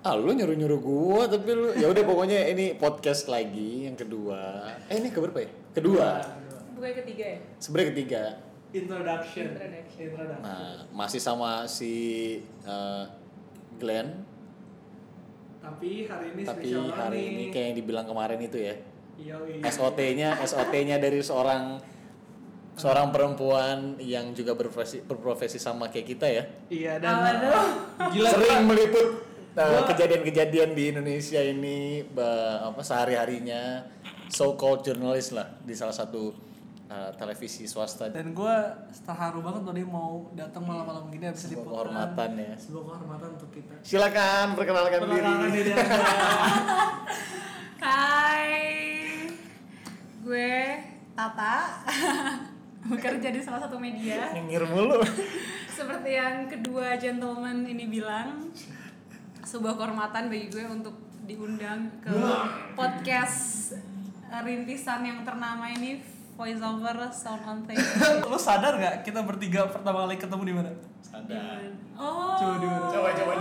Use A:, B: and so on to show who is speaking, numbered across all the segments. A: ah lu nyuruh nyuruh gua tapi lu ya udah pokoknya ini podcast lagi yang kedua eh ini keberapa ya kedua
B: Bukan ketiga ya?
A: sebenarnya ketiga
C: Introduction.
B: Introduction.
C: Introduction.
A: nah masih sama si eh, Glenn
C: Tapi hari ini
A: tapi
C: spesial banget
A: hari
C: nih.
A: ini kayak yang dibilang kemarin itu ya
C: Yoi.
A: SOT-nya SOT-nya dari seorang seorang perempuan yang juga berprofesi berprofesi sama kayak kita ya
C: Iya dan
B: Aduh.
C: gila
A: sering meliput uh,
C: Gua-
A: kejadian-kejadian di Indonesia ini ba- apa sehari-harinya so called jurnalis lah di salah satu uh, televisi swasta
C: dan gue terharu banget tadi mau datang malam-malam gini habis
A: Sebuah
C: liputan.
A: kehormatan ya.
C: sebuah kehormatan untuk kita
A: silakan perkenalkan
C: Perkenalkan
A: diri
C: diri Anda.
B: Hai.
D: Gue Tata bekerja di salah satu media
A: nyengir mulu
D: seperti yang kedua gentleman ini bilang sebuah kehormatan bagi gue untuk diundang ke podcast rintisan yang ternama ini voiceover sound on thing
C: lo sadar gak kita bertiga pertama kali ketemu di mana
A: ada
D: oh
A: coba coba coba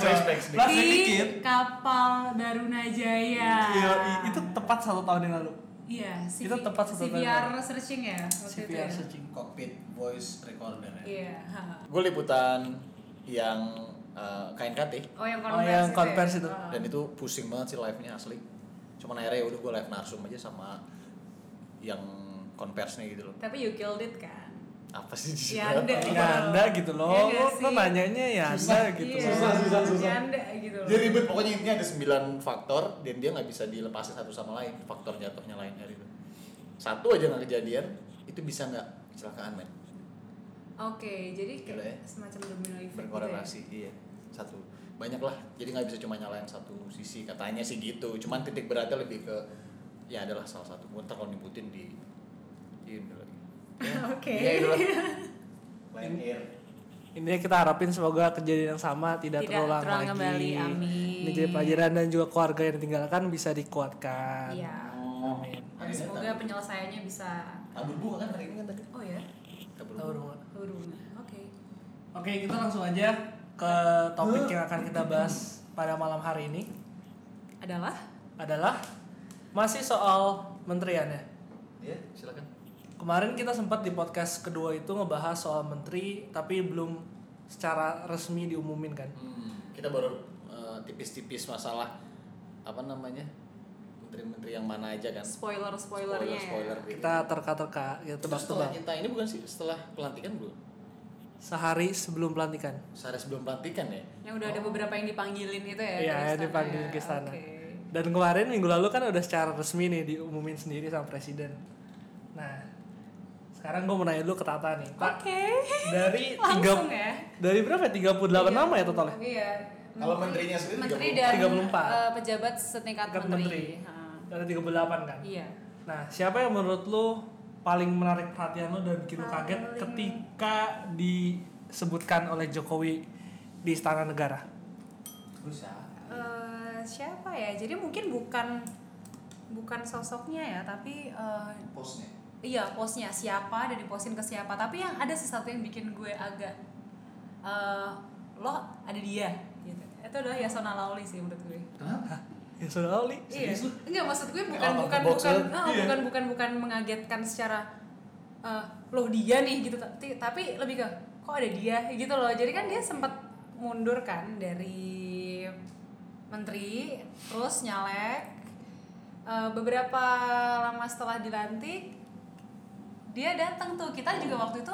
A: flashback sedikit.
C: Flashback dikit.
D: di kapal Darunajaya
C: Iya, i- itu tepat satu tahun yang lalu
D: iya CV,
C: Itu tepat satu
D: CVR searching ya waktu itu
C: CPR
D: ya
C: searching
A: cockpit voice recorder ya.
D: iya
A: gue liputan yang uh, KNKT
D: oh yang
C: oh
D: konversi
C: yang
D: itu ya?
C: konversi itu
A: dan itu pusing banget sih live-nya asli cuman akhirnya ya udah gue live narsum aja sama yang konversnya gitu loh
D: Tapi you killed it kan?
A: apa sih di
D: Ya ada.
C: ya anda gitu
D: Iya
C: loh
D: nggak
C: lo, lo
D: sih?
C: nanyanya ya anda gitu
D: Iya,
C: Susah.
A: Ah, susah, susah.
D: janda gitu loh.
A: dia ribet pokoknya intinya ada 9 faktor dan dia nggak bisa dilepasin satu sama lain faktor jatuhnya lain hari itu satu aja nggak kejadian itu bisa nggak kecelakaan men
D: Oke, jadi
A: Gila ya.
D: kayak semacam domino effect gitu ya.
A: berkorelasi iya satu banyak lah jadi nggak bisa cuma nyalain satu sisi katanya sih gitu cuman titik beratnya lebih ke ya adalah salah satu Gua ntar kalau nyebutin di di ini lagi
D: Oke.
A: Iya,
D: Ya.
A: itu lah. Lion Air.
C: Intinya kita harapin semoga kejadian yang sama tidak,
D: Tidak
C: terulang,
D: terulang
C: lagi.
D: kembali, amin.
C: Ini jadi pelajaran dan juga keluarga yang ditinggalkan bisa dikuatkan.
D: Iya.
C: Amin.
D: Dan semoga penyelesaiannya bisa
A: tabur bunga kan hari ini kan tadi
D: Oh ya,
A: tabur
C: Tahu
A: bunga.
C: dong.
D: berhubungan. Oke.
C: Oke, kita langsung aja ke topik yang akan kita bahas pada malam hari ini
D: Adalah
C: adalah masih soal menteriannya.
A: ya silakan
C: Kemarin kita sempat di podcast kedua itu ngebahas soal menteri tapi belum secara resmi diumumin kan.
A: Hmm, kita baru eh, tipis-tipis masalah apa namanya menteri-menteri yang mana aja kan
D: spoiler-spoilernya.
A: spoiler
D: ya.
A: gitu.
C: Kita terka-terka, ya
A: Itu setelah
C: tebak-tebak.
A: kita ini bukan sih setelah pelantikan belum
C: Sehari sebelum pelantikan.
A: sehari sebelum pelantikan ya
D: Yang udah ada beberapa yang dipanggilin itu ya.
C: Iya,
D: ke istana.
C: dipanggil ke istana.
D: Oke.
C: Dan kemarin minggu lalu kan udah secara resmi nih diumumin sendiri sama presiden. Nah, sekarang gue mau nanya dulu ke Tata nih, Pak.
D: Oke.
C: Dari tiga
D: Langsung ya.
C: dari berapa? ya? 38 nama ya totalnya?
D: Iya.
A: Kalau menterinya sendiri
D: menteri dan
C: 34.
D: eh, pejabat setingkat
C: Tingkat menteri.
D: menteri. Ha.
C: Ada 38 kan.
D: Ah, Iya.
C: Nah, siapa yang menurut lu paling menarik perhatian lu dan bikin lu kaget ketika disebutkan oleh Jokowi di istana negara?
A: ya,
D: Eh, siapa ya? Jadi mungkin bukan bukan sosoknya ya, tapi eh,
A: posnya
D: iya posnya siapa dan diposin ke siapa. Tapi yang ada sih satu yang bikin gue agak eh, lo ada dia gitu. Itu adalah Yasona Lauli sih menurut gue.
C: Ya sudah Oli.
D: Iya. Enggak maksud gue bukan
A: Out of the
D: bukan
A: box
D: bukan
A: ya?
D: ah, bukan bukan bukan mengagetkan secara eh, loh dia nih gitu tapi, tapi lebih ke kok ada dia gitu loh. Jadi kan dia sempat mundur kan dari menteri terus nyalek Eh, beberapa lama setelah dilantik dia datang tuh kita juga waktu itu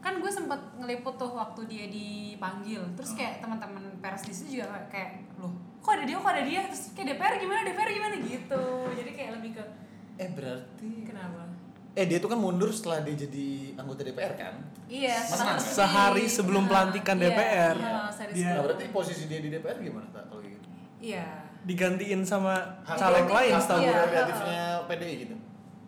D: kan gue sempet ngeliput tuh waktu dia dipanggil terus
C: Hmm.
D: kayak teman-teman pers di situ juga kayak loh kok ada dia kok ada dia terus kayak DPR gimana DPR gimana gitu jadi kayak lebih ke
A: eh berarti
C: Iya.
D: kenapa
A: eh dia tuh kan mundur setelah dia jadi anggota DPR kan
D: iya
A: Mas
D: setelah
A: Mas,
D: resmi.
C: sehari sebelum
D: Nah,
C: pelantikan
D: iya,
C: DPR.
D: iya, sehari
C: Dia-
A: nah
D: sebelum.
A: berarti posisi dia di DPR gimana tak kalau gitu
D: iya
C: Digantiin sama
A: Hak-
C: caleg
A: hak
C: lain setahu
D: Iya.
C: gue.
A: prerogatifnya PDI gitu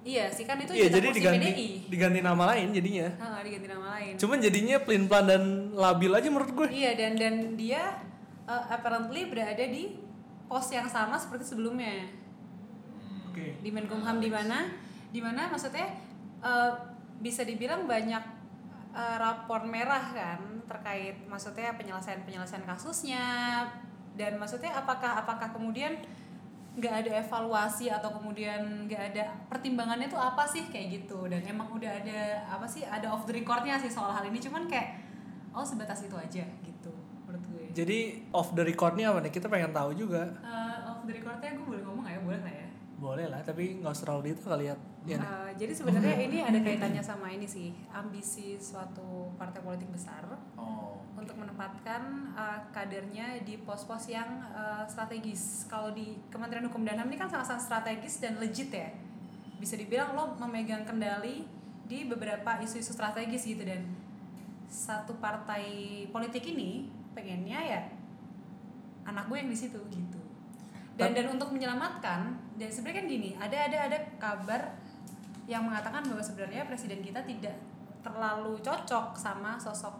D: iya sih kan itu
C: Iya,
D: juga
C: jadi
D: kursi
C: diganti
D: PDI
C: diganti nama lain jadinya.
D: Nah, diganti nama lain
C: Cuman jadinya pelin pelan dan labil aja menurut gue.
D: Iya dan dan dia uh, apparently berada di pos yang sama seperti sebelumnya
C: Oke.
D: di Menkumham di mana di mana maksudnya uh, bisa dibilang banyak eh, uh, rapor merah kan terkait maksudnya penyelesaian penyelesaian kasusnya dan maksudnya apakah apakah kemudian nggak ada evaluasi atau kemudian nggak ada pertimbangannya tuh apa sih kayak gitu dan emang udah ada apa sih ada off the recordnya sih soal hal ini cuman kayak oh sebatas itu aja gitu menurut gue
C: Jadi off the recordnya apa nih? Kita pengen tahu juga.
D: Eh, off the recordnya gue boleh ngomong nggak ya boleh nggak ya
C: Boleh lah, tapi nggak usah terlalu detail kali ya. Iya nih.
D: Eh, jadi sebenarnya ini ada kaitannya sama ini sih ambisi suatu partai politik besar
A: Oh.
D: untuk menempatkan eh, kadernya di pos-pos yang eh, strategis. Kalau di Kementerian Hukum dan HAM ini kan sangat-sangat strategis dan legit ya. Bisa dibilang lo memegang kendali di beberapa isu-isu strategis gitu dan satu partai politik ini pengennya ya anak gue yang di situ gitu. Dan dan untuk menyelamatkan dan sebenarnya kan gini, ada ada ada kabar yang mengatakan bahwa sebenarnya presiden kita tidak terlalu cocok sama sosok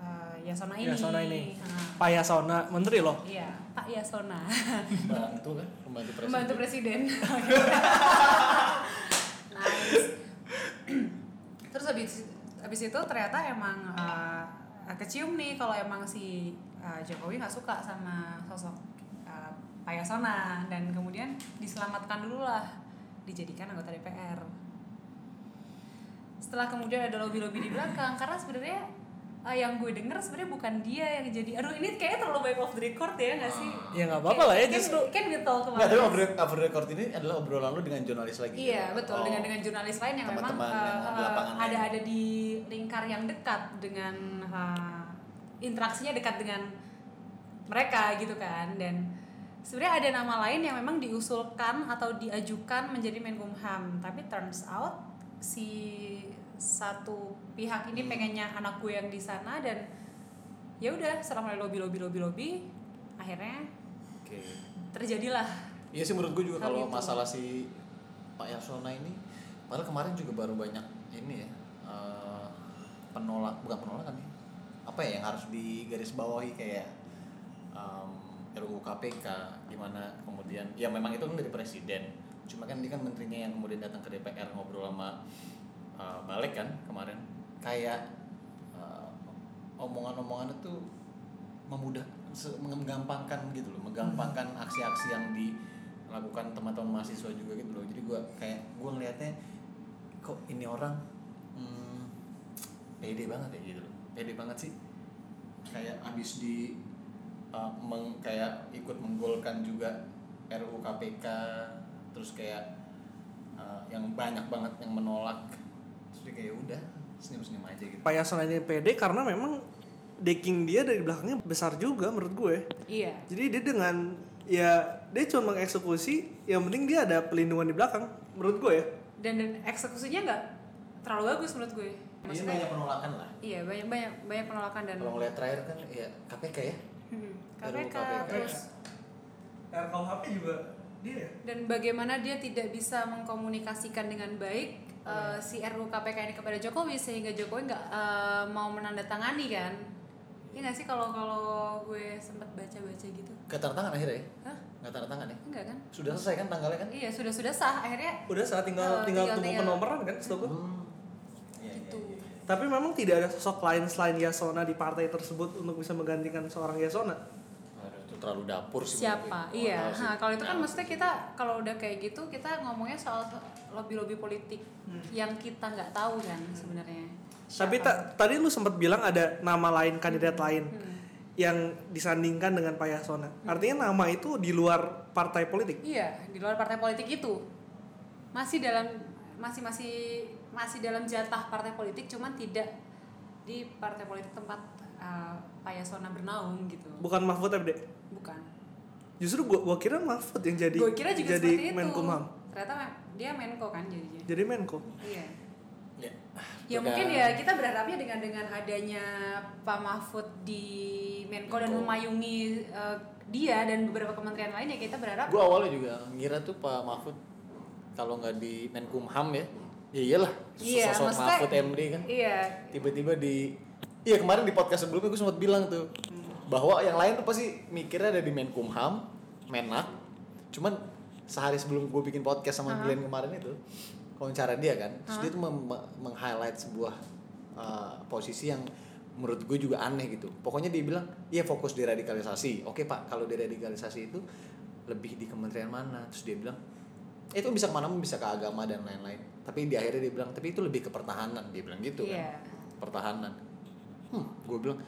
D: eh, Yasona ini.
C: Yasona Iya, ini.
D: Nah,
C: Pak Yasona, menteri loh.
D: Iya, Pak Yasona.
A: Bantu kan, pembantu presiden.
D: Pembantu presiden. nice. Terus habis habis itu ternyata emang eh, kecium nih kalau emang si eh, Jokowi nggak suka sama sosok eh, Pak Yasona dan kemudian diselamatkan dulu lah dijadikan anggota DPR. Setelah kemudian ada lobby-lobby di belakang karena sebenarnya eh, yang gue denger sebenarnya bukan dia yang jadi aduh ini kayaknya terlalu banyak off the record ya nggak sih
C: Ya nggak apa-apa lah ya
D: Kan-
C: justru.
D: kan gitu kemarin
A: Nggak, tapi over, over record ini adalah obrolan lu dengan jurnalis lagi.
D: Iya betul
A: Oh.
D: dengan dengan jurnalis lain yang memang
A: Teman-teman yang
D: eh,
A: di lapangan
D: eh, ada
A: lain.
D: ada di lingkar yang dekat dengan eh, interaksinya dekat dengan mereka gitu kan dan sebenarnya ada nama lain yang memang diusulkan atau diajukan menjadi Menkumham tapi turns out si satu pihak
A: Hmm.
D: ini pengennya anak gue yang di sana dan ya udah setelah mulai lobby lobby lobby lobby akhirnya
A: Oke.
D: terjadilah
A: Iya sih menurut gue juga
D: Hal
A: kalau
D: itu.
A: masalah si Pak Yasona ini, padahal kemarin juga baru banyak ini ya eh, penolak, bukan penolakan ya, apa ya yang harus digarisbawahi kayak em, RUU KPK, gimana kemudian, ya memang itu kan dari presiden, cuma kan dia kan menterinya yang kemudian datang ke DPR ngobrol sama eh, Balik kan kemarin, kayak eh, omongan-omongan itu memudah se- menggampangkan gitu loh menggampangkan aksi-aksi yang dilakukan teman-teman mahasiswa juga gitu loh jadi gua kayak gua ngelihatnya kok ini orang hmm, pede banget ya gitu loh pede banget sih kayak abis di uh, meng, kayak ikut menggolkan juga RUU KPK terus kayak uh, yang banyak banget yang menolak terus dia kayak udah senyum-senyum aja gitu
C: Pak Yasona ini PD karena memang decking dia dari belakangnya besar juga menurut gue.
D: iya
C: Jadi dia dengan ya dia cuma mengeksekusi, yang penting dia ada pelindungan di belakang menurut gue ya.
D: dan dan eksekusinya nggak terlalu bagus menurut gue
A: Iya
D: maksudnya
A: banyak penolakan lah
D: iya banyak banyak banyak penolakan dan
A: Kalau ngeliat terakhir kan ya KPK ya.
D: Hmm,
A: Baru
D: KPK
A: KPK.
D: terus
C: RKUHP juga dia ya.
D: dan bagaimana dia tidak bisa mengkomunikasikan dengan baik
A: Iya.
D: eh, si RUU KPK ini kepada Jokowi sehingga Jokowi nggak eh, mau menandatangani kan Iya nggak sih kalau kalau gue sempat baca baca gitu
A: Gak tanda tangan akhirnya ya?
D: Hah?
A: Gak tanda tangan ya?
D: enggak kan
A: Sudah selesai kan tanggalnya kan?
D: iya sudah sudah sah akhirnya
C: Udah saat tinggal
D: Eh,
C: tinggal,
D: tinggal-
C: tunggu
D: tinggal.
C: penomoran kan setahu gue.
A: Hmm. Iya, iya,
D: Gitu.
A: iya, iya.
C: Tapi memang tidak ada sosok lain selain Yasona di partai tersebut untuk bisa menggantikan seorang Yasona.
A: Waduh, itu terlalu dapur sih. menurut
D: siapa
A: gue.
D: iya
C: Oh,
A: Mahal sih.
D: Nah, kalau itu kan
A: Nah,
D: maksudnya kita kalau udah kayak gitu kita ngomongnya soal lobby lobby politik yang kita nggak tahu kan sebenarnya
C: Hmm. Tapi ta- tadi lu sempat bilang ada nama lain
D: Hmm.
C: kandidat lain yang disandingkan dengan Pak Yasona.
D: Hmm.
C: Artinya nama itu di luar partai politik.
D: iya di luar partai politik itu masih dalam masih masih masih dalam jatah partai politik cuman tidak di partai politik tempat uh, Pak Yasona bernaung gitu
C: Bukan Mahfud MD.
D: bukan
C: Justru gua, gua kira Mahfud yang jadi
D: gue kira juga
C: jadi
D: seperti itu
C: Menkumham.
D: ternyata mem- dia Menko kan jadinya
C: Jadi Menko.
D: iya
A: Ya,
D: Ya
A: Bukan-
D: mungkin ya kita berharapnya dengan dengan adanya Pak Mahfud di Menko dan memayungi eh, dia dan beberapa kementerian lain ya kita berharap
A: Gue awalnya juga ngira tuh Pak Mahfud kalau nggak di Menkumham ya, ya iyalah.
D: Iya,
A: sosok
D: maksudnya-
A: Mahfud MD kan.
D: iya
A: Tiba-tiba di Iya kemarin di podcast sebelumnya gue sempat bilang tuh bahwa yang lain tuh pasti mikirnya ada di Menkumham, Menak. Cuman sehari sebelum gue bikin podcast sama Glenn kemarin itu, wawancara dia kan, terus dia tuh mem- meng-highlight sebuah uh, eh, posisi yang menurut gue juga aneh gitu pokoknya dia bilang iya fokus di radikalisasi oke pak kalau di radikalisasi itu lebih di kementerian mana terus dia bilang "Eh, itu bisa kemana bisa ke agama dan lain-lain tapi di akhirnya dia bilang tapi itu lebih ke pertahanan dia bilang gitu kan
D: Iya.
A: pertahanan hmm gue bilang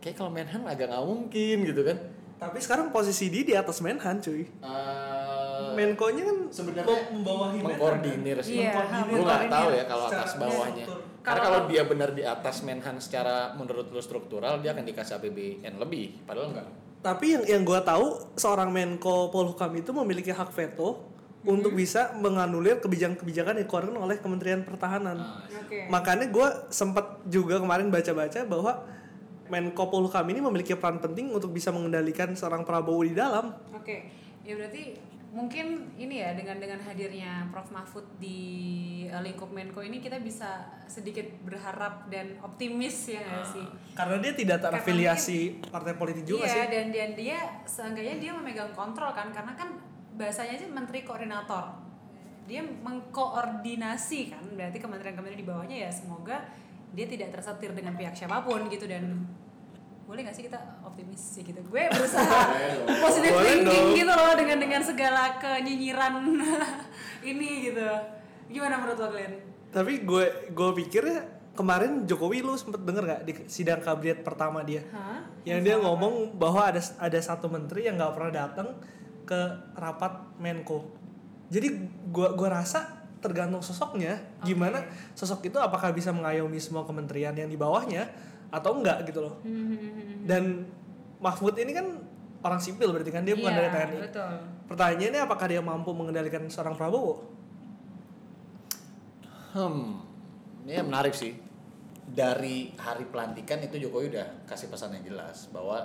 A: kayak kalau Menhan agak nggak mungkin gitu kan
C: Tapi sekarang posisi dia di atas Menhan cuy.
A: Eh,
C: Menko-nya kan
A: sebenarnya
C: mem- membawahi Menhan,
A: mengkoordinir sih
D: Iya,
A: gue nggak
C: mengkoordinir
A: tahu ya kalau
C: secara
A: atas bawahnya
C: struktur.
A: karena
D: Kalau-
A: kalau dia benar di atas Menhan secara menurut lu struktural dia akan dikasih APBN lebih padahal enggak
C: Tapi yang yang gua tahu seorang Menko Polhukam itu memiliki hak veto untuk
D: Hmm.
C: bisa menganulir kebijakan-kebijakan yang dikeluarkan oleh Kementerian Pertahanan.
A: kan?
D: Oke.
C: Makanya gue sempat juga kemarin baca-baca bahwa Menko Polhukam ini memiliki peran penting untuk bisa mengendalikan seorang Prabowo di dalam.
D: Oke. Ya berarti mungkin ini ya dengan dengan hadirnya Prof Mahfud di eh, lingkup Menko ini kita bisa sedikit berharap dan optimis
A: Ah.
D: ya nggak sih?
C: Karena dia tidak
D: Karena
C: terafiliasi partai politik juga
D: iya,
C: sih.
D: dan dan dia seenggaknya dia memegang kontrol kan karena kan bahasanya aja menteri koordinator. Dia mengkoordinasi kan berarti kementerian-kementerian di bawahnya ya semoga dia tidak tersetir dengan pihak siapapun gitu dan boleh gak sih kita optimis sih gitu gue berusaha positive
C: Boleh
D: thinking
C: dong.
D: gitu loh dengan dengan segala kenyinyiran ini gitu gimana menurut lo Glenn?
C: Tapi gue gue pikirnya ya, kemarin Jokowi lu sempet denger gak di sidang kabinet pertama dia?
D: Hah?
C: Yang dia ngomong bahwa ada ada satu menteri yang nggak pernah datang ke rapat Menko. Jadi gua gua rasa tergantung sosoknya gimana sosok itu apakah bisa mengayomi semua kementerian yang di bawahnya atau enggak gitu
D: Hmm,
C: loh. Dan Mahfud ini kan orang sipil berarti kan dia bukan
D: Iya,
C: dari TNI.
D: betul
C: Pertanyaannya apakah dia mampu mengendalikan seorang Prabowo?
A: hmm ini yang menarik sih dari hari pelantikan itu Jokowi udah kasih pesan yang jelas bahwa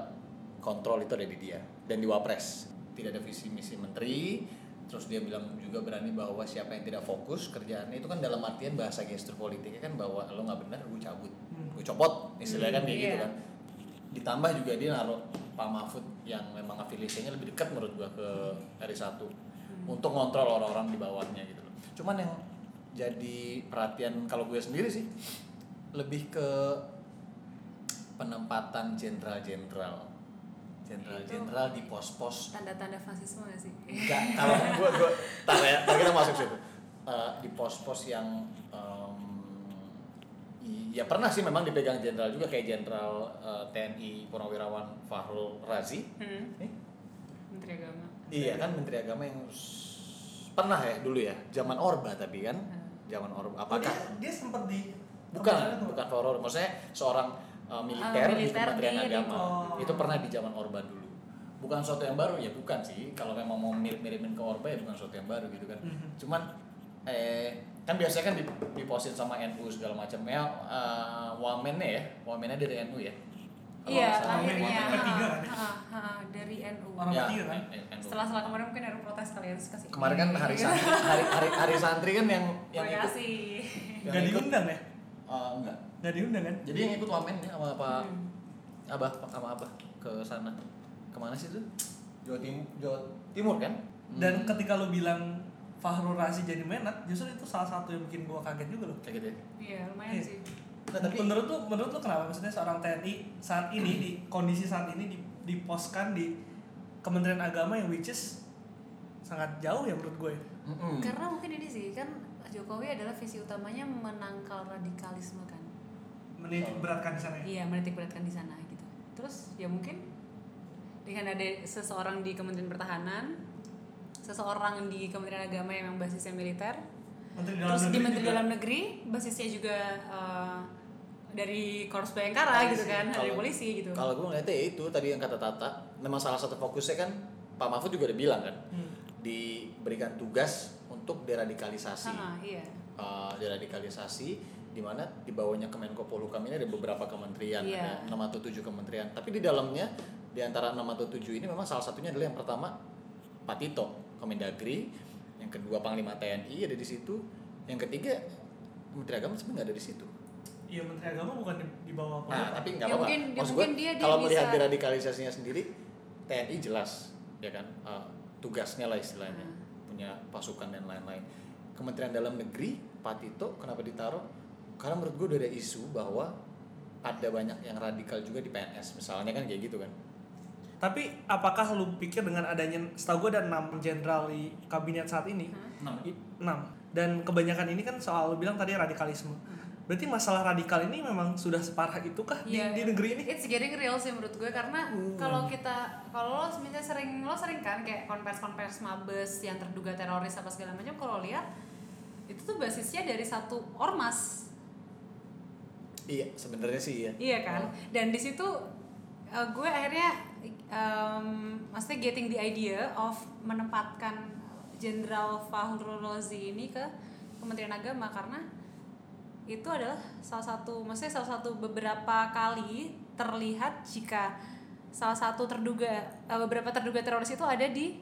A: kontrol itu ada di dia dan di Wapres tidak ada visi misi menteri terus dia bilang juga berani bahwa siapa yang tidak fokus kerjaannya itu kan dalam artian bahasa gestur politiknya kan bahwa lo nggak benar gue cabut gue copot istilahnya kan kayak gitu
D: iya.
A: kan ditambah juga dia naruh Pak Mahfud yang memang afiliasinya lebih dekat menurut gua ke dari satu untuk ngontrol orang-orang di bawahnya gitu loh. Cuman yang jadi perhatian kalau gue sendiri sih lebih ke penempatan jenderal-jenderal. Jenderal-jenderal di pos-pos
D: tanda-tanda fasisme gak sih?
A: Enggak, kalau gue gue tar ya, ntar kita masuk situ. Eh, di pos-pos yang em, i- ya pernah sih memang dipegang jenderal juga kayak jenderal eh, TNI Purnawirawan Fahrul Razi.
D: Hmm,
A: Nih,
D: menteri agama
A: Iya kan Menteri Agama yang s- pernah ya dulu ya, zaman Orba tapi kan. Zaman Orba. Apakah
C: dia sempat di
A: bukan bukan horor maksudnya seorang uh, militer,
D: Ah, militer
A: di Kementerian
D: di- di-
A: Agama
D: oh.
A: itu pernah di zaman Orba dulu bukan sesuatu yang baru ya bukan sih kalau memang mau mirip-miripin ke Orba ya bukan sesuatu yang baru gitu kan
D: Mhm.
A: cuman eh kan biasanya kan dip- diposin sama NU segala macam ya uh, wamennya ya wamennya dari NU ya Kalau
D: Iya,
A: nggak salah,
D: akhirnya
A: wamen-
C: Ketiga kan?
D: ha, ha, ha, dari NU.
C: Orang-
A: ya,
C: ketiga kan?
A: N- N- NU.
D: Setelah setelah kemarin mungkin NU protes ya, kalian suka sih.
A: kemarin kan hari santri hari hari, hari santri kan yang yang
D: Iya. Terima
A: ikut
D: kasih.
A: yang
C: Gak
A: ikut
C: diundang ya?
A: uh, enggak
C: Gak diundang kan?
A: Jadi yang ikut wamennya sama Pak Abah sama Abah ke sana. Kemana sih tuh? Jawa Timur, Jawa Timur kan?
C: Dan ketika lu bilang Fahrul Razi jadi menak, justru itu salah satu yang bikin gua kaget juga loh.
A: kayak gitu ya.
D: Iya, lumayan
C: Iya.
D: sih.
A: Nah, tapi
C: menurut lu menurut lu kenapa maksudnya seorang TNI saat ini di kondisi saat ini di- diposkan di Kementerian Agama yang which is sangat jauh ya menurut gue.
A: Mm-mm.
D: Karena mungkin ini sih kan Jokowi adalah visi utamanya menangkal radikalisme kan.
C: Menitik beratkan di sana. ya.
D: Iya, menitik beratkan di sana gitu. Terus ya mungkin dengan ada seseorang di Kementerian Pertahanan, seseorang di Kementerian Agama yang memang basisnya militer,
C: Menteri Dalam
D: terus di
C: Negeri
D: Menteri
C: juga.
D: Dalam Negeri basisnya juga eh, dari Korps Bayangkara
C: Iya
D: gitu kan, dari
A: Kalau-
D: polisi gitu.
A: Kalau gue ngeliatnya ya itu tadi yang kata Tata, memang salah satu fokusnya kan Pak Mahfud juga udah bilang kan, diberikan tugas untuk deradikalisasi.
D: Ah, iya.
A: uh, deradikalisasi di mana di bawahnya Kemenko Polhukam ini ada beberapa kementerian
D: Iya.
A: ada 6 atau 7 kementerian tapi di dalamnya di antara 6 atau 7 ini memang salah satunya adalah yang pertama Pak Tito Kemendagri yang kedua Panglima TNI ada di situ yang ketiga Menteri Agama sebenarnya nggak ada di situ
C: Iya Menteri Agama bukan di, di bawah apa?
A: nah tapi nggak
D: Ya
A: apa-apa
D: mungkin- ya
A: Maksud
D: mungkin
A: gua,
D: dia- dia
A: kalau
D: bisa-
A: melihat deradikalisasinya sendiri TNI jelas ya kan uh, tugasnya lah istilahnya
D: Hmm.
A: punya pasukan dan lain-lain Kementerian Dalam Negeri Pak Tito kenapa ditaruh karena menurut gue udah ada isu bahwa ada banyak yang radikal juga di PNS misalnya kan kayak gitu kan
C: Tapi apakah lu pikir dengan adanya setahu gue ada 6 jenderal di kabinet saat ini? I- enam Dan kebanyakan ini kan soal lu bilang tadi radikalisme.
D: Hmm.
C: Berarti masalah radikal ini memang sudah separah itukah di,
D: Iya.
C: di negeri ini?
D: It's getting real sih menurut gue karena
C: Hmm.
D: kalau kita kalau lo misalnya sering lo sering kan kayak konvers-konvers mabes yang terduga teroris apa segala macam kalau lihat itu tuh basisnya dari satu ormas
A: iya sebenarnya sih iya
D: Iya kan. Dan di situ uh, gue akhirnya um, maksudnya getting the idea of menempatkan Jenderal Fahrul Rozi ini ke Kementerian Agama karena itu adalah salah satu maksudnya salah satu beberapa kali terlihat jika salah satu terduga uh, beberapa terduga teroris itu ada di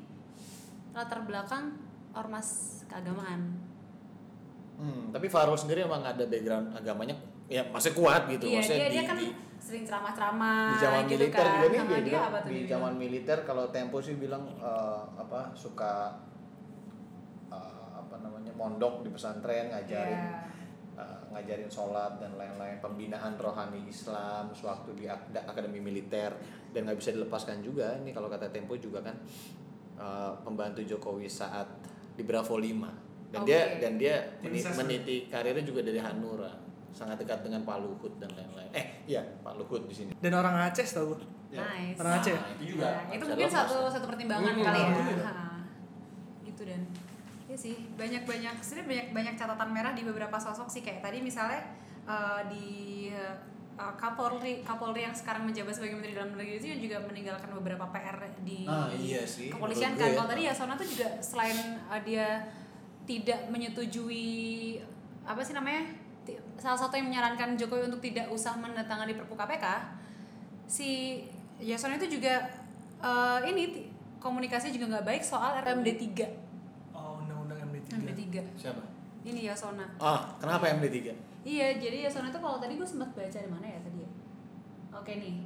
D: latar belakang ormas keagamaan.
A: Hmm, tapi Farul sendiri emang ada background agamanya ya masih kuat gitu
D: iya,
A: maksudnya
D: dia
A: di,
D: dia kan
A: di,
D: sering ceramah-ceramah
A: di zaman
D: gitu
A: militer
D: kan.
A: juga nih
D: Sama
A: dia,
D: dia
A: bilang,
D: apa tuh
A: di
D: dia bilang?
A: zaman militer kalau Tempo sih bilang eh, apa suka eh, apa namanya mondok di pesantren ngajarin
D: Iya.
A: eh, ngajarin sholat dan lain-lain pembinaan rohani Islam sewaktu di ak- da- akademi militer dan nggak bisa dilepaskan juga ini kalau kata Tempo juga kan eh, pembantu Jokowi saat di Bravo 5 dan dia
D: Oke.
A: dan dia
C: Tim
A: meni-
C: ses.
A: meniti karirnya juga dari Hanura sangat dekat dengan Pak Luhut dan lain-lain eh iya Pak Luhut di sini
C: Dan orang Aceh setahu gue.
D: Nice.
C: Orang Aceh.
A: Nah, itu juga
D: Ya, itu
A: bisa
D: mungkin
A: lepas.
D: satu satu pertimbangan
C: Hmm,
D: kali ya.
C: itu juga.
D: Ha, gitu dan ya sih banyak banyak sebenarnya banyak banyak catatan merah di beberapa sosok sih kayak tadi misalnya eh, di eh, Kapolri Kapolri yang sekarang menjabat sebagai Menteri Dalam Negeri itu juga meninggalkan beberapa PR di
A: Ah, iya sih,
D: kepolisian
A: menurut gue
D: kan
A: ya.
D: kalau tadi ya Sona tuh juga selain eh, dia tidak menyetujui apa sih namanya Ti- salah satu yang menyarankan Jokowi untuk tidak usah mendatangani Perpu KPK si Yasona itu juga eh, ini ti- komunikasinya juga nggak baik soal RMD 3
C: Oh, undang-undang
A: Iya.
C: MD3.
D: RMD 3
A: siapa
D: ini Yasona
A: ah kenapa MD3
D: Iya, jadi Yasona itu kalau tadi gue sempat baca di mana ya tadi ya. Oke nih,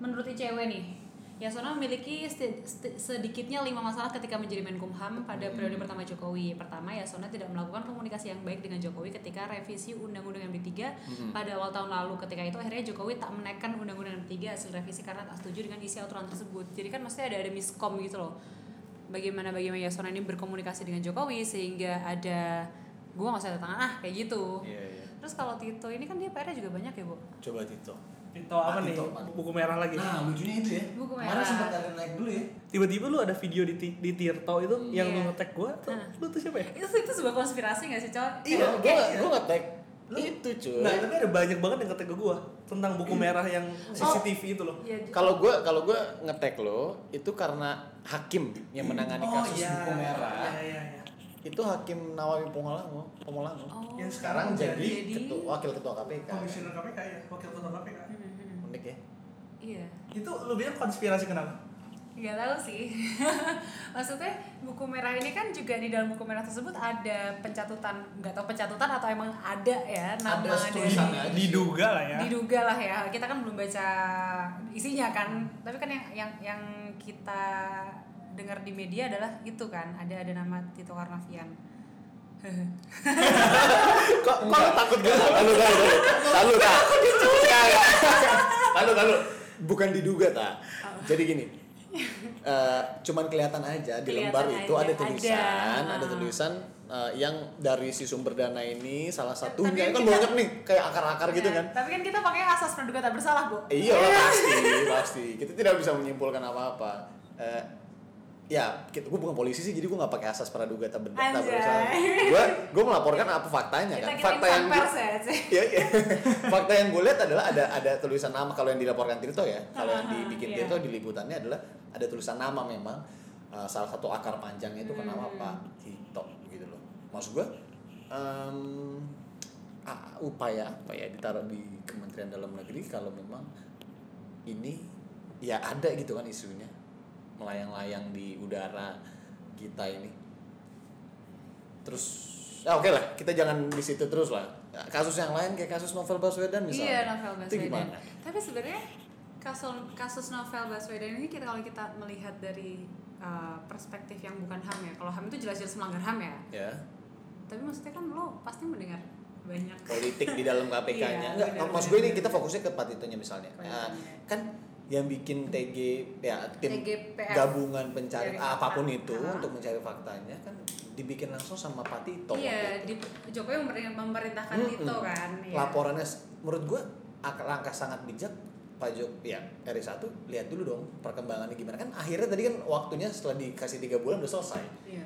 D: menurut ICW nih, Yasona memiliki sti- sti- sedikitnya lima masalah ketika menjadi Menkumham pada periode pertama Jokowi. Pertama, Yasona tidak melakukan komunikasi yang baik dengan Jokowi ketika revisi Undang-Undang MD3 pada awal tahun lalu. Ketika itu akhirnya Jokowi tak menaikkan Undang-Undang MD3 hasil revisi karena tak setuju dengan isi aturan tersebut. Jadi kan maksudnya ada ada miskom gitu loh. Bagaimana bagaimana Yasona ini berkomunikasi dengan Jokowi sehingga ada gue gak usah tangan ah kayak gitu.
A: iya iya
D: Terus kalau Tito ini kan dia PR-nya juga banyak ya, Bu?
A: coba Tito
C: Tito apa
A: Ah,
C: nih?
A: Tito apa?
C: Buku merah lagi.
A: lucunya itu ya
D: Buku Kemarin merah. sempat
A: ada naik dulu ya
C: Tiba-tiba lu ada video di, Ti- di Tirto itu yang
D: Iya.
C: lu nge-tag gue tuh,
D: Nah.
C: lu tuh siapa ya?
D: Itu itu sebuah konspirasi gak sih, Cok?
A: iya
C: Iya,
A: gue
C: iya.
A: gue ngetek itu cuy
C: Nah, tapi ada banyak banget yang nge-tag ke gue tentang buku merah yang
D: Oh.
C: CCTV itu loh.
D: Iya. Ju-
A: Kalau gue kalau gue ngetek lo itu karena hakim yang menangani kasus buku merah
C: Oh, Iya, iya, iya.
A: itu hakim Nawawi Pomolango Pomolango
D: Oh.
C: Yang
A: sekarang jadi,
D: Jadi-
A: ketua, wakil ketua KPK
C: Komisioner KPK ya, wakil ketua KPK.
D: Hmm, hmm.
A: unik ya
D: Iya.
C: Itu lu bilang konspirasi kenapa?
D: Gak tahu sih. Maksudnya buku merah ini kan juga di dalam buku merah tersebut ada pencatutan, nggak tahu pencatutan atau emang ada ya nama
A: Ada tulisannya aja.
D: dari
C: Diduga lah ya.
D: diduga lah ya. Kita kan belum baca isinya kan. Tapi kan yang yang yang kita dengar di media adalah itu kan, ada ada nama Tito Karnavian.
A: kok kok lu takut gitu lalu lalu lalu tak lalu lalu bukan diduga tak
D: Oh.
A: jadi gini eh, cuman kelihatan aja di
D: Kelihatan
A: lembar itu
D: aja,
A: ada tulisan
D: ada. Ah.
A: ada, tulisan eh, yang dari si sumber dana ini salah
D: tapi
A: satunya kan
D: kita-
A: banyak nih kayak akar-akar gitu
D: Ya,
A: kan
D: Tapi kan kita pakai asas praduga tak bersalah, Bu.
A: Iya lah pasti, pasti. Kita tidak bisa menyimpulkan apa-apa. Eh, ya, kita, gue bukan polisi sih, jadi gue nggak pakai asas praduga tak benar tak
D: Anjay.
A: bersalah. Gue gue melaporkan apa faktanya
D: Kita
A: kan.
D: kita
A: Fakta
D: insan
A: yang gua-
D: pers ya. Cek.
A: Iya, iya. fakta yang gue lihat adalah ada ada tulisan nama kalau yang dilaporkan Tirto ya. Kalau yang dibikin
D: Iya.
A: Tirto di liputannya adalah ada tulisan nama memang. Eh, salah satu akar panjangnya itu kenapa Pak Tito gitu loh. Maksud gue em, a- upaya apa ya ditaruh di Kementerian Dalam Negeri kalau memang ini ya ada gitu kan isunya melayang-layang di udara kita ini terus ya oke lah kita jangan di situ terus lah kasus yang lain kayak kasus novel Baswedan misalnya
D: Iya, novel Baswedan.
A: itu gimana
D: Tapi sebenarnya kasus kasus novel Baswedan ini kita kalau kita melihat dari uh, perspektif yang bukan HAM ya. Kalau HAM itu jelas-jelas melanggar HAM ya.
A: ya
D: Tapi maksudnya kan lo pasti mendengar banyak
A: politik di dalam KPK-nya.
D: Iya,
A: Enggak,
D: benar,
A: maksud gue
D: benar,
A: ini
D: benar.
A: kita fokusnya ke patitunya misalnya.
D: Patitunya.
A: Nah, kan yang bikin TG ya tim
D: TGPF.
A: gabungan pencari
D: Cari
A: apapun
D: fakta.
A: itu
D: Iya, Ah.
A: untuk mencari faktanya kan dibikin langsung sama Patito.
D: iya
A: waktu itu.
D: di Jokowi memerintah- memerintahkan
A: Mm-mm.
D: Tito kan iya.
A: Laporannya s- menurut gue ak- langkah sangat bijak Pak Jok ya RI1 lihat dulu dong perkembangannya gimana kan akhirnya tadi kan waktunya setelah dikasih tiga bulan udah selesai
D: Iya.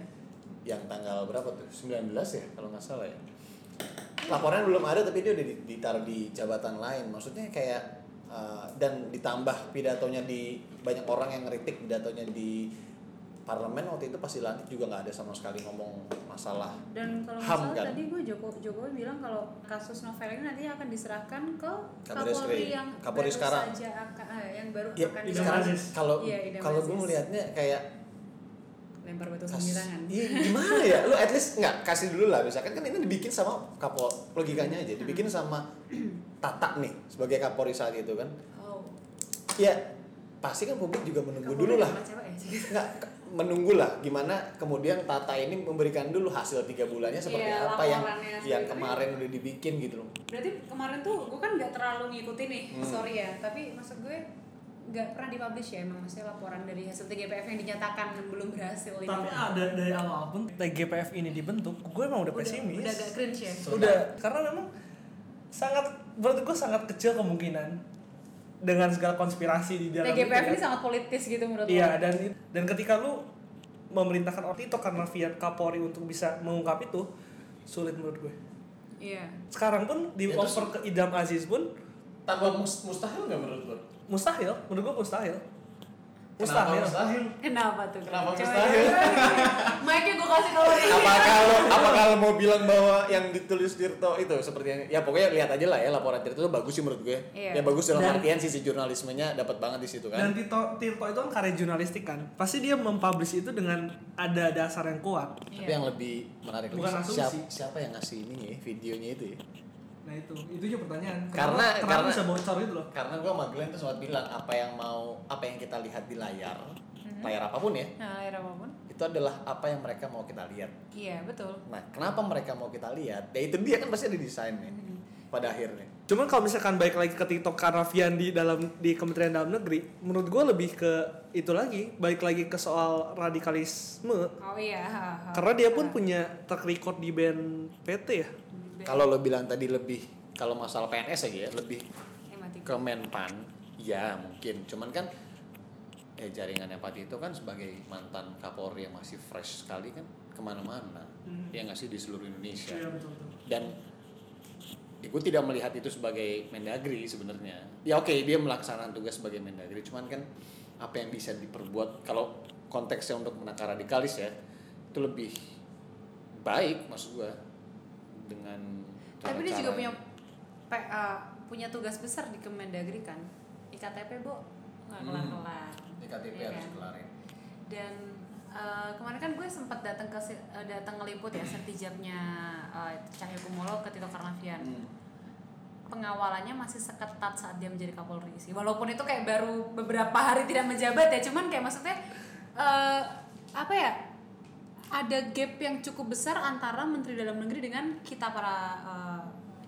A: yang tanggal berapa tuh 19 ya kalau nggak salah ya laporannya belum ada tapi dia udah di- ditaruh di jabatan lain maksudnya kayak uh, dan ditambah pidatonya di banyak orang yang ngeritik pidatonya di parlemen waktu itu pasti lantik juga nggak ada sama sekali ngomong masalah
D: dan kalau nggak
A: Ham,
D: salah
A: kan?
D: tadi gue Joko Jokowi bilang kalau kasus novel ini nanti akan diserahkan ke
A: Kapolres
D: Kapolri
A: Krim.
D: yang
A: Kapolri
D: baru
A: sekarang.
D: saja akan eh, yang baru
A: ya
D: akan
C: Idam
A: sekarang
C: Aziz.
A: kalau
D: Iya, Idam
A: kalau gue
D: Aziz.
A: melihatnya kayak
D: lempar batu
A: Kas-
D: sembilangan
A: Iya, gimana ya? Lu at least nggak kasih dulu lah misalkan kan ini dibikin sama kapol logikanya aja dibikin
D: Hmm.
A: sama Tata nih sebagai Kapolri saat itu kan.
D: oh
A: Ya pasti kan publik juga menunggu
D: Kapolri
A: dulu lah.
D: sama cewek ya?
A: Nggak ke- menunggu lah gimana kemudian Tata ini memberikan dulu hasil tiga bulannya seperti
D: Iya,
A: apa yang
D: laporannya
A: yang
D: seperti-
A: kemarin udah dibikin gitu loh.
D: berarti kemarin tuh gue kan nggak terlalu ngikutin nih
A: Hmm.
D: sorry ya tapi maksud gue nggak pernah dipublish ya emang maksudnya laporan dari hasil TGPF yang dinyatakan belum berhasil ini
C: Tapi ada dari awal pun TGPF ini dibentuk, gue emang udah, pesimis.
D: udah agak cringe ya
A: So-
C: udah karena memang sangat menurut gue sangat kecil kemungkinan dengan segala konspirasi di dalam itu,
D: TGPF
C: kan.
D: ini sangat politis gitu menurut lo.
C: iya dan dan ketika lu memerintahkan orang itu karena fiat Kapolri untuk bisa mengungkap itu sulit menurut gue
D: iya
C: sekarang pun di
A: Ya, terus-
C: offer ke Idam Aziz pun
E: Tambah mus- mustahil nggak menurut lo?
C: mustahil menurut gue mustahil
E: Kenapa
C: mustahil
E: mustahil?
D: Kenapa tuh?
E: Kenapa
D: Coba
E: mustahil?
D: ya. Mic-nya gue kasih kalau ini.
A: Apa kalau apa kalau mau bilang bahwa yang ditulis Tirto itu seperti yang ya pokoknya lihat aja lah ya laporan Tirto itu bagus sih menurut gue. Ya
D: Iya.
A: bagus dalam
C: Dan-
A: artian sisi jurnalismenya dapat banget di situ kan.
C: Dan Tito, Tirto itu kan karya jurnalistik kan, pasti dia mempublish itu dengan ada dasar yang kuat.
D: Iya.
A: Tapi yang lebih menarik
C: Bukan
A: lagi,
C: asumsi.
A: siapa, siapa yang ngasih ini ya, videonya itu ya?
C: Nah itu, itu juga pertanyaan.
A: Karena-
C: kenapa
A: karena-
C: bisa bocor itu loh?
A: Karena gua sama Glenn tuh sempat bilang apa yang mau apa yang kita lihat di layar, layar apapun ya,
D: Nah, air apapun.
A: itu adalah apa yang mereka mau kita lihat.
D: Iya, betul.
A: Nah, kenapa mereka mau kita lihat? Ya itu dia kan pasti ada desainnya pada akhirnya.
C: Cuman kalau misalkan baik lagi ke TikTok Karnavian di dalam di Kementerian Dalam Negeri, menurut gue lebih ke itu lagi, baik lagi ke soal radikalisme.
D: Oh iya. ha, ha.
C: Karena dia pun punya track record di band PT ya.
A: Kalau lo bilang tadi lebih kalau masalah PNS aja ya, lebih
D: Eh, mati.
A: ke Menpan, ya mungkin. Cuman kan ya jaringannya Pati itu kan sebagai mantan Kapolri yang masih fresh sekali kan kemana-mana. Ya nggak sih di seluruh Indonesia.
C: Iya, betul
A: dan ya, gue tidak melihat itu sebagai Mendagri sebenarnya ya oke dia melaksanakan tugas sebagai Mendagri cuman kan apa yang bisa diperbuat kalau konteksnya untuk menakar radikalis ya itu lebih baik maksud gue dengan
D: Tapi dia
A: cara-cara-
D: juga punya P- eh, punya tugas besar di Kemendagri kan. IKTP, Bo. Enggak
A: Hmm.
D: kelar-kelar.
A: IKTP
D: Iya
A: harus
D: kan?
A: kelarin
D: Dan eh, kemarin kan gue sempat datang ke si- eh, datang ngeliput ya sertijabnya eh, Cahyokumolo ke Tito Karnavian.
A: Hmm.
D: pengawalannya masih seketat saat dia menjadi Kapolri sih. Walaupun itu kayak baru beberapa hari tidak menjabat ya, cuman kayak maksudnya eh, apa ya? Ada gap yang cukup besar antara Menteri Dalam Negeri dengan kita para eh,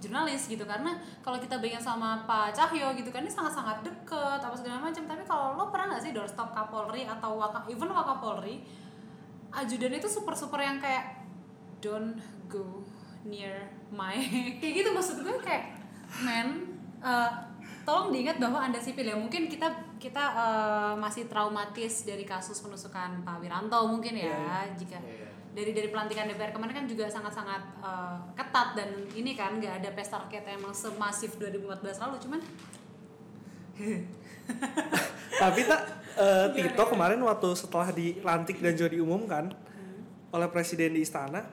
D: jurnalis gitu karena kalau kita bayangin sama Pak Cahyo gitu kan ini sangat-sangat deket apa segala macam tapi kalau lo pernah nggak sih doorstop Kapolri atau waka, even Wakapolri ajudannya itu super super yang kayak don't go near my kayak gitu maksud gue kayak men eh, tolong diingat bahwa anda sipil ya mungkin kita kita eh, masih traumatis dari kasus penusukan Pak Wiranto mungkin ya jika dari dari pelantikan DPR kemarin kan juga sangat sangat ketat dan ini kan nggak ada pesta rakyat yang emang semasif 2014 lalu cuman
C: Tapi tak eh, Tito kemarin waktu setelah dilantik dan juga diumumkan
D: Hmm.
C: oleh presiden di istana,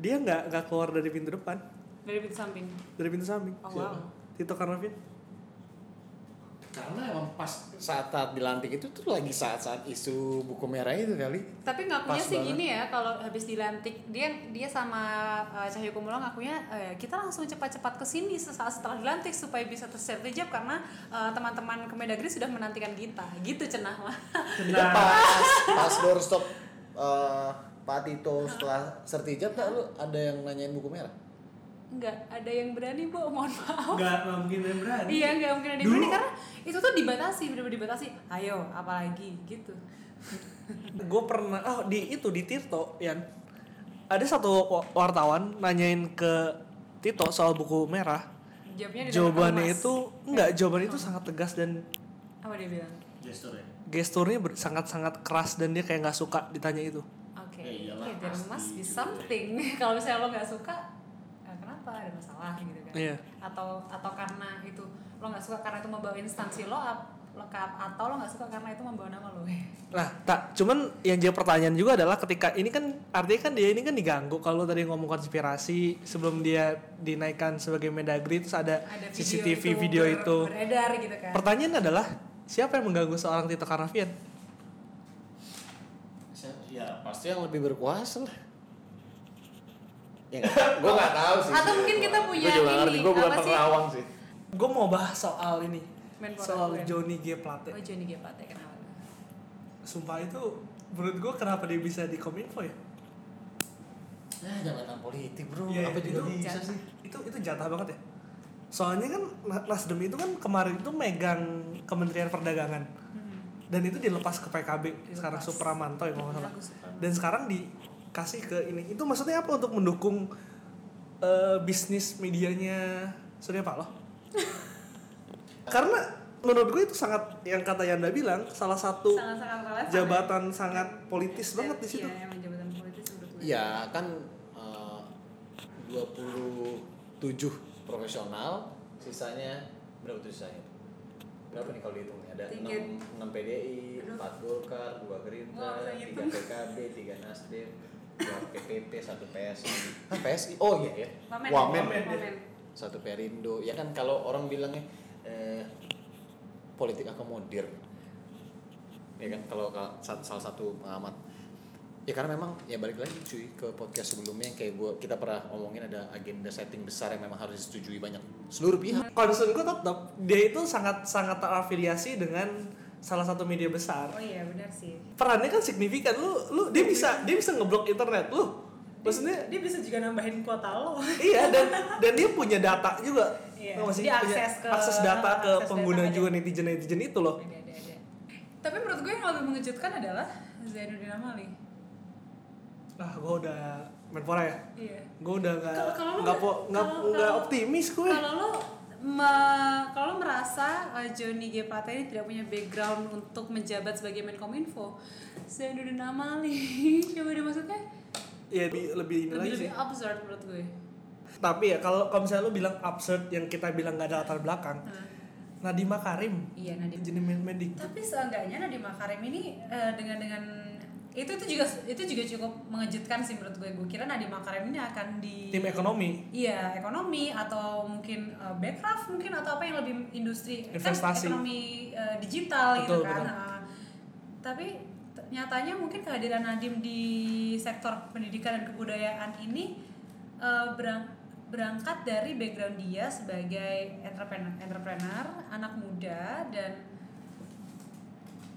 C: dia nggak nggak keluar dari pintu depan,
D: dari pintu samping
C: dari pintu samping.
D: oh wow
C: Tito Karnavian.
E: Karena emang pas
A: saat saat dilantik itu tuh lagi saat saat isu buku merah itu kali
D: tapi
A: Pas
D: ngakunya sih
A: banget.
D: gini ya kalau habis dilantik dia dia sama uh, Cahyokumolo ngakunya "Eh, kita langsung cepat-cepat ke sini sesaat setelah dilantik supaya bisa tersertijab karena uh, teman-teman Kemendagri sudah menantikan kita gitu cenah mah
A: itu pas pas doorstop eh, Pak Tito setelah sertijab tak lu ada yang nanyain buku merah
D: nggak ada yang berani bu mohon maaf
C: nggak nggak mungkin yang berani
D: iya nggak mungkin ada yang
C: Dulu-
D: berani karena itu tuh dibatasi benar-benar dibatasi ayo apalagi gitu
C: gue pernah oh di itu di Tirto Yan ada satu wa- wartawan nanyain ke Tito soal buku merah
D: jawabnya di Iya. Oh. dalam
C: jawabannya
D: kelas.
C: itu enggak jawabannya itu sangat tegas dan
D: apa dia bilang
E: gestur ya
C: gesturnya ber- sangat-sangat keras dan dia kayak nggak suka ditanya itu
D: Oke,
E: Ya iyalah,
D: okay, there
E: pasti
D: must be
E: gitu.
D: something. Kalau misalnya lo nggak suka, eh, kenapa ada masalah gitu kan?
C: Iya.
D: Atau atau karena itu lo nggak suka karena itu membawa instansi lo up, lo ke up, atau lo nggak suka karena itu membawa nama lo.
C: nah tak cuman yang jadi pertanyaan juga adalah ketika ini kan artinya kan dia ini kan diganggu kalau tadi ngomong konspirasi sebelum dia dinaikkan sebagai mendagri terus ada,
D: Ada video
C: CCTV
D: itu
C: video
D: ber-
C: itu
D: beredar gitu kan?
C: pertanyaan adalah siapa yang mengganggu seorang Tito Karnavian
E: Saya- ya pasti
A: pasti yang lebih berkuasa lah ya gue nggak tahu sih
D: Atau mungkin kita punya
A: gue juga
D: ini,
A: ngerti gue bukan
D: apa sih?
A: pengerawang sih
C: gue mau bahas soal ini
D: Menpora
C: soal
D: gue.
C: Johnny G Plate
D: Oh Johnny Gepate kenapa?
C: sumpah itu menurut gue kenapa dia bisa di kominfo ya
A: nah jabatan politik bro
C: Iya,
A: apa
C: iya,
A: juga
C: itu
A: bisa
D: jatah.
A: sih
C: itu itu jatah banget ya soalnya kan Na- Nasdem itu kan kemarin itu megang Kementerian Perdagangan dan itu dilepas ke PKB sekarang
D: Dilepas.
C: Supramanto ya kalau nggak salah
D: Aku suka.
C: dan sekarang dikasih ke ini itu maksudnya apa untuk mendukung eh, bisnis medianya Surya Paloh karena menurut gue itu sangat yang kata Yanda bilang salah satu
D: Sangat-sangat relevan. ya.
C: jabatan sangat politis banget di situ Iya.
D: Iya, emang jabatan politis menurut gue.
A: ya kan eh, 27 profesional sisanya berapa tuh sisanya berapa nih kalau dihitung nih? ada
D: Tiga.
A: 6, 6 PDI 4 Golkar 2 Gerindra
D: Wah, saya
A: 3
D: hitung.
A: PKB 3 Nasdem 2 PPP 1 PSI Hah, PSI oh iya ya
D: Wamen,
A: Wamen.
D: Wamen.
A: satu perindo ya kan kalau orang bilangnya eh, politik akomodir ya kan kalau ka- sa- salah satu pengamat ya karena memang ya balik lagi cuy ke podcast sebelumnya yang kayak gua kita pernah ngomongin ada agenda setting besar yang memang harus disetujui banyak seluruh pihak
C: concern gue tetap dia itu sangat sangat terafiliasi dengan salah satu media besar
D: Oh iya benar sih.
C: perannya kan signifikan lu lu dia bisa dia bisa ngeblok internet lu
D: Iya.
C: maksudnya
D: Dia bisa juga nambahin kuota lo.
C: iya dan dan dia punya data juga
D: Iya,
C: Tau gak sih?
D: dia
C: Punya
D: akses ke-
C: akses data ke
D: akses
C: pengguna
D: data
C: juga
D: aja.
C: netizen netizen itu loh
D: Oh, Ada, ada, ada. Tapi menurut gue yang lebih mengejutkan adalah Zainuddin Amali.
C: ah gue udah menpora ya
D: Iya.
C: gue udah nggak
D: Kalau- kalau lu
C: nggak po
D: nggak-
C: nggak
D: kalau-
C: nggak
D: kalau-
C: optimis gue
D: Kalau lo me- kalau lo merasa uh, Johnny G Plate ini tidak punya background untuk menjabat sebagai Menkominfo, Zainuddin Amali, coba deh maksudnya
C: ya lebih lebih ini lagi
D: lebih
C: sih
D: lebih absurd menurut gue.
C: tapi ya kalau kalau misalnya lu bilang absurd yang kita bilang nggak ada latar belakang
D: Nah,
C: Nadima Karim
D: Iya Nadiem.
C: jadi main mending
D: Tapi seenggaknya Nadiem Makarim ini eh, dengan dengan itu itu juga itu juga cukup mengejutkan sih menurut gue. Gue kira Nadiem Makarim ini akan di
C: tim ekonomi
D: Iya, ekonomi atau mungkin eh, backcraft mungkin atau apa yang lebih industri
C: Investasi.
D: kan ekonomi eh, digital
C: Betul,
D: gitu kan.
C: betul.
D: Nah, tapi t- nyatanya mungkin kehadiran Nadim di sektor pendidikan dan kebudayaan ini eh, berang- berangkat dari background dia sebagai entrepreneur, entrepreneur anak muda dan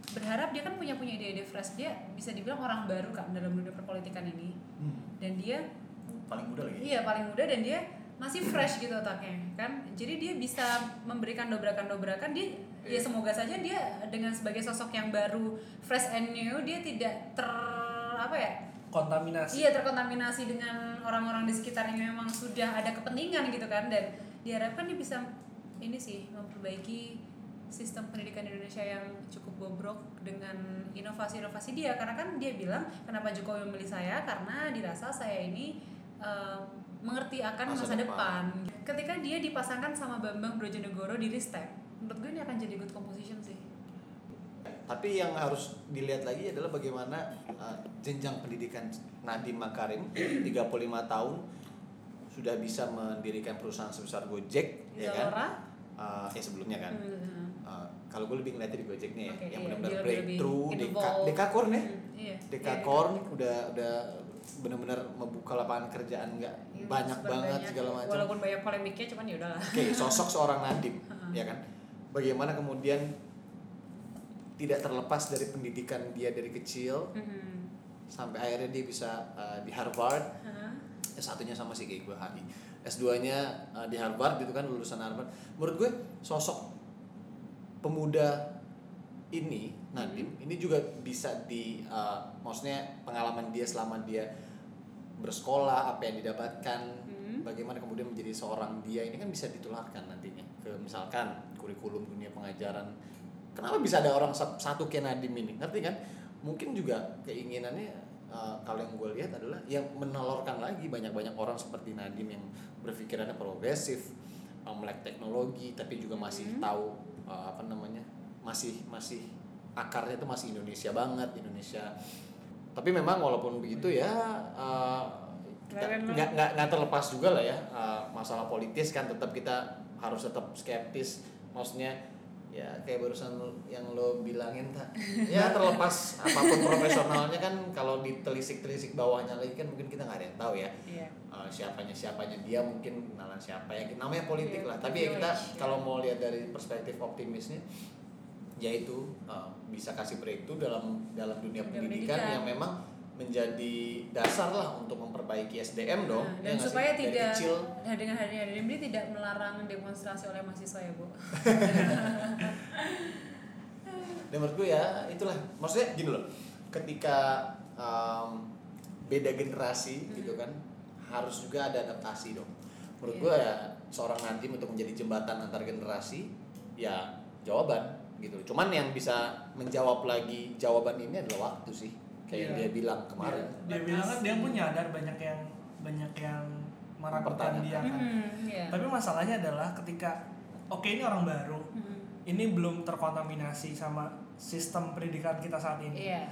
D: berharap dia kan punya punya ide-ide fresh dia bisa dibilang orang baru kan dalam dunia perpolitikan ini
C: Hmm.
D: dan dia
A: paling mudah lagi
D: Iya paling muda dan dia masih fresh gitu otaknya kan jadi dia bisa memberikan dobrakan-dobrakan dia ya semoga saja dia dengan sebagai sosok yang baru fresh and new dia tidak ter apa ya
C: kontaminasi
D: iya terkontaminasi dengan orang-orang di sekitarnya yang memang sudah ada kepentingan gitu kan dan diharapkan dia bisa ini sih memperbaiki sistem pendidikan di Indonesia yang cukup bobrok dengan inovasi-inovasi dia karena kan dia bilang kenapa Jokowi memilih saya karena dirasa saya ini eh, mengerti akan
A: Masa
D: masa,
A: depan.
D: depan. ketika dia dipasangkan sama Bambang Brojonegoro di Ristek menurut gue ini akan jadi good composition sih
A: tapi yang harus dilihat lagi adalah bagaimana eh, jenjang pendidikan Nadiem Makarim 35 tahun sudah bisa mendirikan perusahaan sebesar Gojek ya kan
D: Zalora
A: Eh, ya sebelumnya kan
D: hmm,
A: Uh, kalau gue lebih ngeliatnya di Gojeknya ya,
D: Oke,
A: yang
D: iya,
A: benar-benar
D: dia lebih-
A: breakthrough,
D: lebih
A: deka,
D: involved.
A: dekakorn ya,
D: Hmm, iya.
A: dekakorn udah udah benar-benar membuka lapangan kerjaan nggak
D: Iya,
A: banyak
D: super
A: banget
D: banyak.
A: segala macam.
D: walaupun banyak polemiknya cuman ya udahlah
A: Oke, sosok seorang Nadim, ya kan? Bagaimana kemudian tidak terlepas dari pendidikan dia dari kecil
D: Mhm.
A: sampai akhirnya dia bisa uh, di Harvard,
D: Hah?
A: S1-nya sama sih kayak gue HI. S2-nya uh, di Harvard gitu kan lulusan Harvard. Menurut gue sosok pemuda ini Nadim ini juga bisa di uh, maksudnya pengalaman dia selama dia bersekolah apa yang didapatkan
B: Hmm.
A: bagaimana kemudian menjadi seorang dia ini kan bisa ditularkan nantinya ke misalkan kurikulum dunia pengajaran kenapa bisa ada orang sa- satu kayak Nadim ini ngerti kan mungkin juga keinginannya uh, kalau yang gue lihat adalah yang menelorkan lagi banyak-banyak orang seperti Nadim yang berpikirannya progresif uh, melek teknologi tapi juga masih tahu uh, apa namanya masih masih akarnya itu masih Indonesia banget Indonesia tapi memang walaupun begitu ya eh,
B: Keren
A: nggak nggak nggak terlepas juga lah ya eh, masalah politis kan tetap kita harus tetap skeptis maksudnya ya kayak barusan lu- yang lo bilangin tak ya terlepas apapun profesionalnya kan kalau ditelisik-telisik bawahnya lagi kan mungkin kita nggak ada yang tahu ya
B: Iya.
A: Eh, siapanya siapanya dia mungkin kenalan siapa ya namanya politik
B: Iya,
A: lah tapi ya kita
B: privilege, ya.
A: kalau mau lihat dari perspektif optimisnya yaitu uh, bisa kasih breakthrough dalam dalam dunia
D: Dunia
A: pendidikan,
D: pendidikan.
A: yang memang menjadi dasar lah untuk memperbaiki SDM dong ya
D: Nah, dan
A: nggak sih?
D: supaya
A: Dari
D: tidak
A: kecil
D: nah, dengan hadirnya Nadim dia tidak melarang demonstrasi oleh mahasiswa ya bu
A: dan menurut gue ya itulah maksudnya gini loh ketika um, beda generasi
C: Hmm.
A: gitu kan harus juga ada adaptasi dong menurut
D: Iya.
A: gue ya seorang Nadim untuk menjadi jembatan antar generasi ya jawaban gitu cuman yang bisa menjawab lagi jawaban ini adalah waktu sih kayak yang
C: Iya.
A: dia bilang kemarin
C: dia bilang kan dia pun nyadar banyak yang banyak yang meragukan
A: Pertanyaan.
C: dia kan
D: Hmm, iya.
C: tapi masalahnya adalah ketika oke ini orang baru
D: Hmm,
C: ini belum terkontaminasi sama sistem pendidikan kita saat ini
D: iya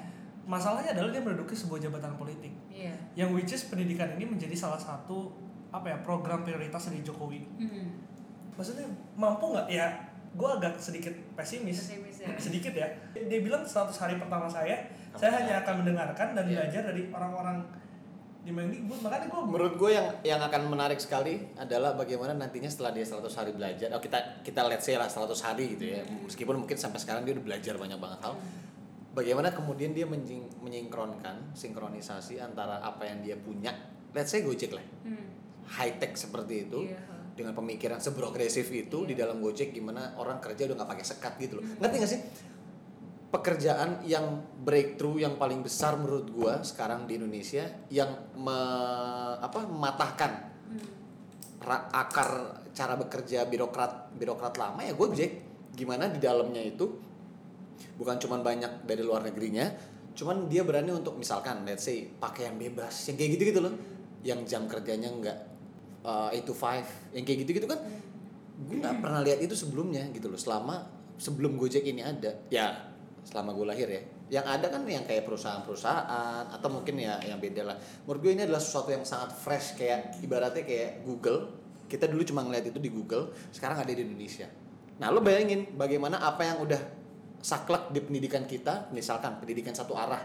C: masalahnya adalah dia menduduki sebuah jabatan politik
D: iya
C: yang which is pendidikan ini menjadi salah satu apa ya program prioritas dari Jokowi
D: Hmm,
C: maksudnya mampu nggak ya gue agak sedikit pesimis
D: pesimis ya.
C: sedikit ya dia bilang 100 hari pertama saya saya hanya akan mendengarkan dan
A: Iya.
C: belajar dari orang-orang di Mengdi gue makanya gue
A: menurut gue yang yang akan menarik sekali adalah bagaimana nantinya setelah dia 100 hari belajar oh kita kita let's say lah 100 hari gitu ya
C: Hmm.
A: meskipun mungkin sampai sekarang dia udah belajar banyak banget hal bagaimana kemudian dia menjing- menyinkronkan sinkronisasi antara apa yang dia punya let's say Gojek lah
D: Hmm,
A: high tech seperti itu
D: iya.
A: dengan pemikiran seprogresif itu
D: Iya. Hmm.
A: di dalam Gojek gimana orang kerja udah nggak pakai sekat gitu loh. Ngerti nggak sih? Pekerjaan yang breakthrough yang paling besar menurut gua sekarang di Indonesia yang me- apa mematahkan
D: Hmm.
A: ra- akar cara bekerja birokrat birokrat lama ya Gojek. Gimana di dalamnya itu bukan cuman banyak dari luar negerinya, cuman dia berani untuk misalkan let's say pakaian bebas yang kayak gitu-gitu loh. Yang jam kerjanya nggak uh, 8 to 5 yang kayak gitu-gitu kan gue nggak pernah lihat itu sebelumnya gitu loh selama sebelum Gojek ini ada ya selama gue lahir ya yang ada kan yang kayak perusahaan-perusahaan atau mungkin ya yang beda lah menurut gue ini adalah sesuatu yang sangat fresh kayak ibaratnya kayak Google kita dulu cuma ngeliat itu di Google sekarang ada di Indonesia nah lo bayangin bagaimana apa yang udah saklek di pendidikan kita misalkan pendidikan satu arah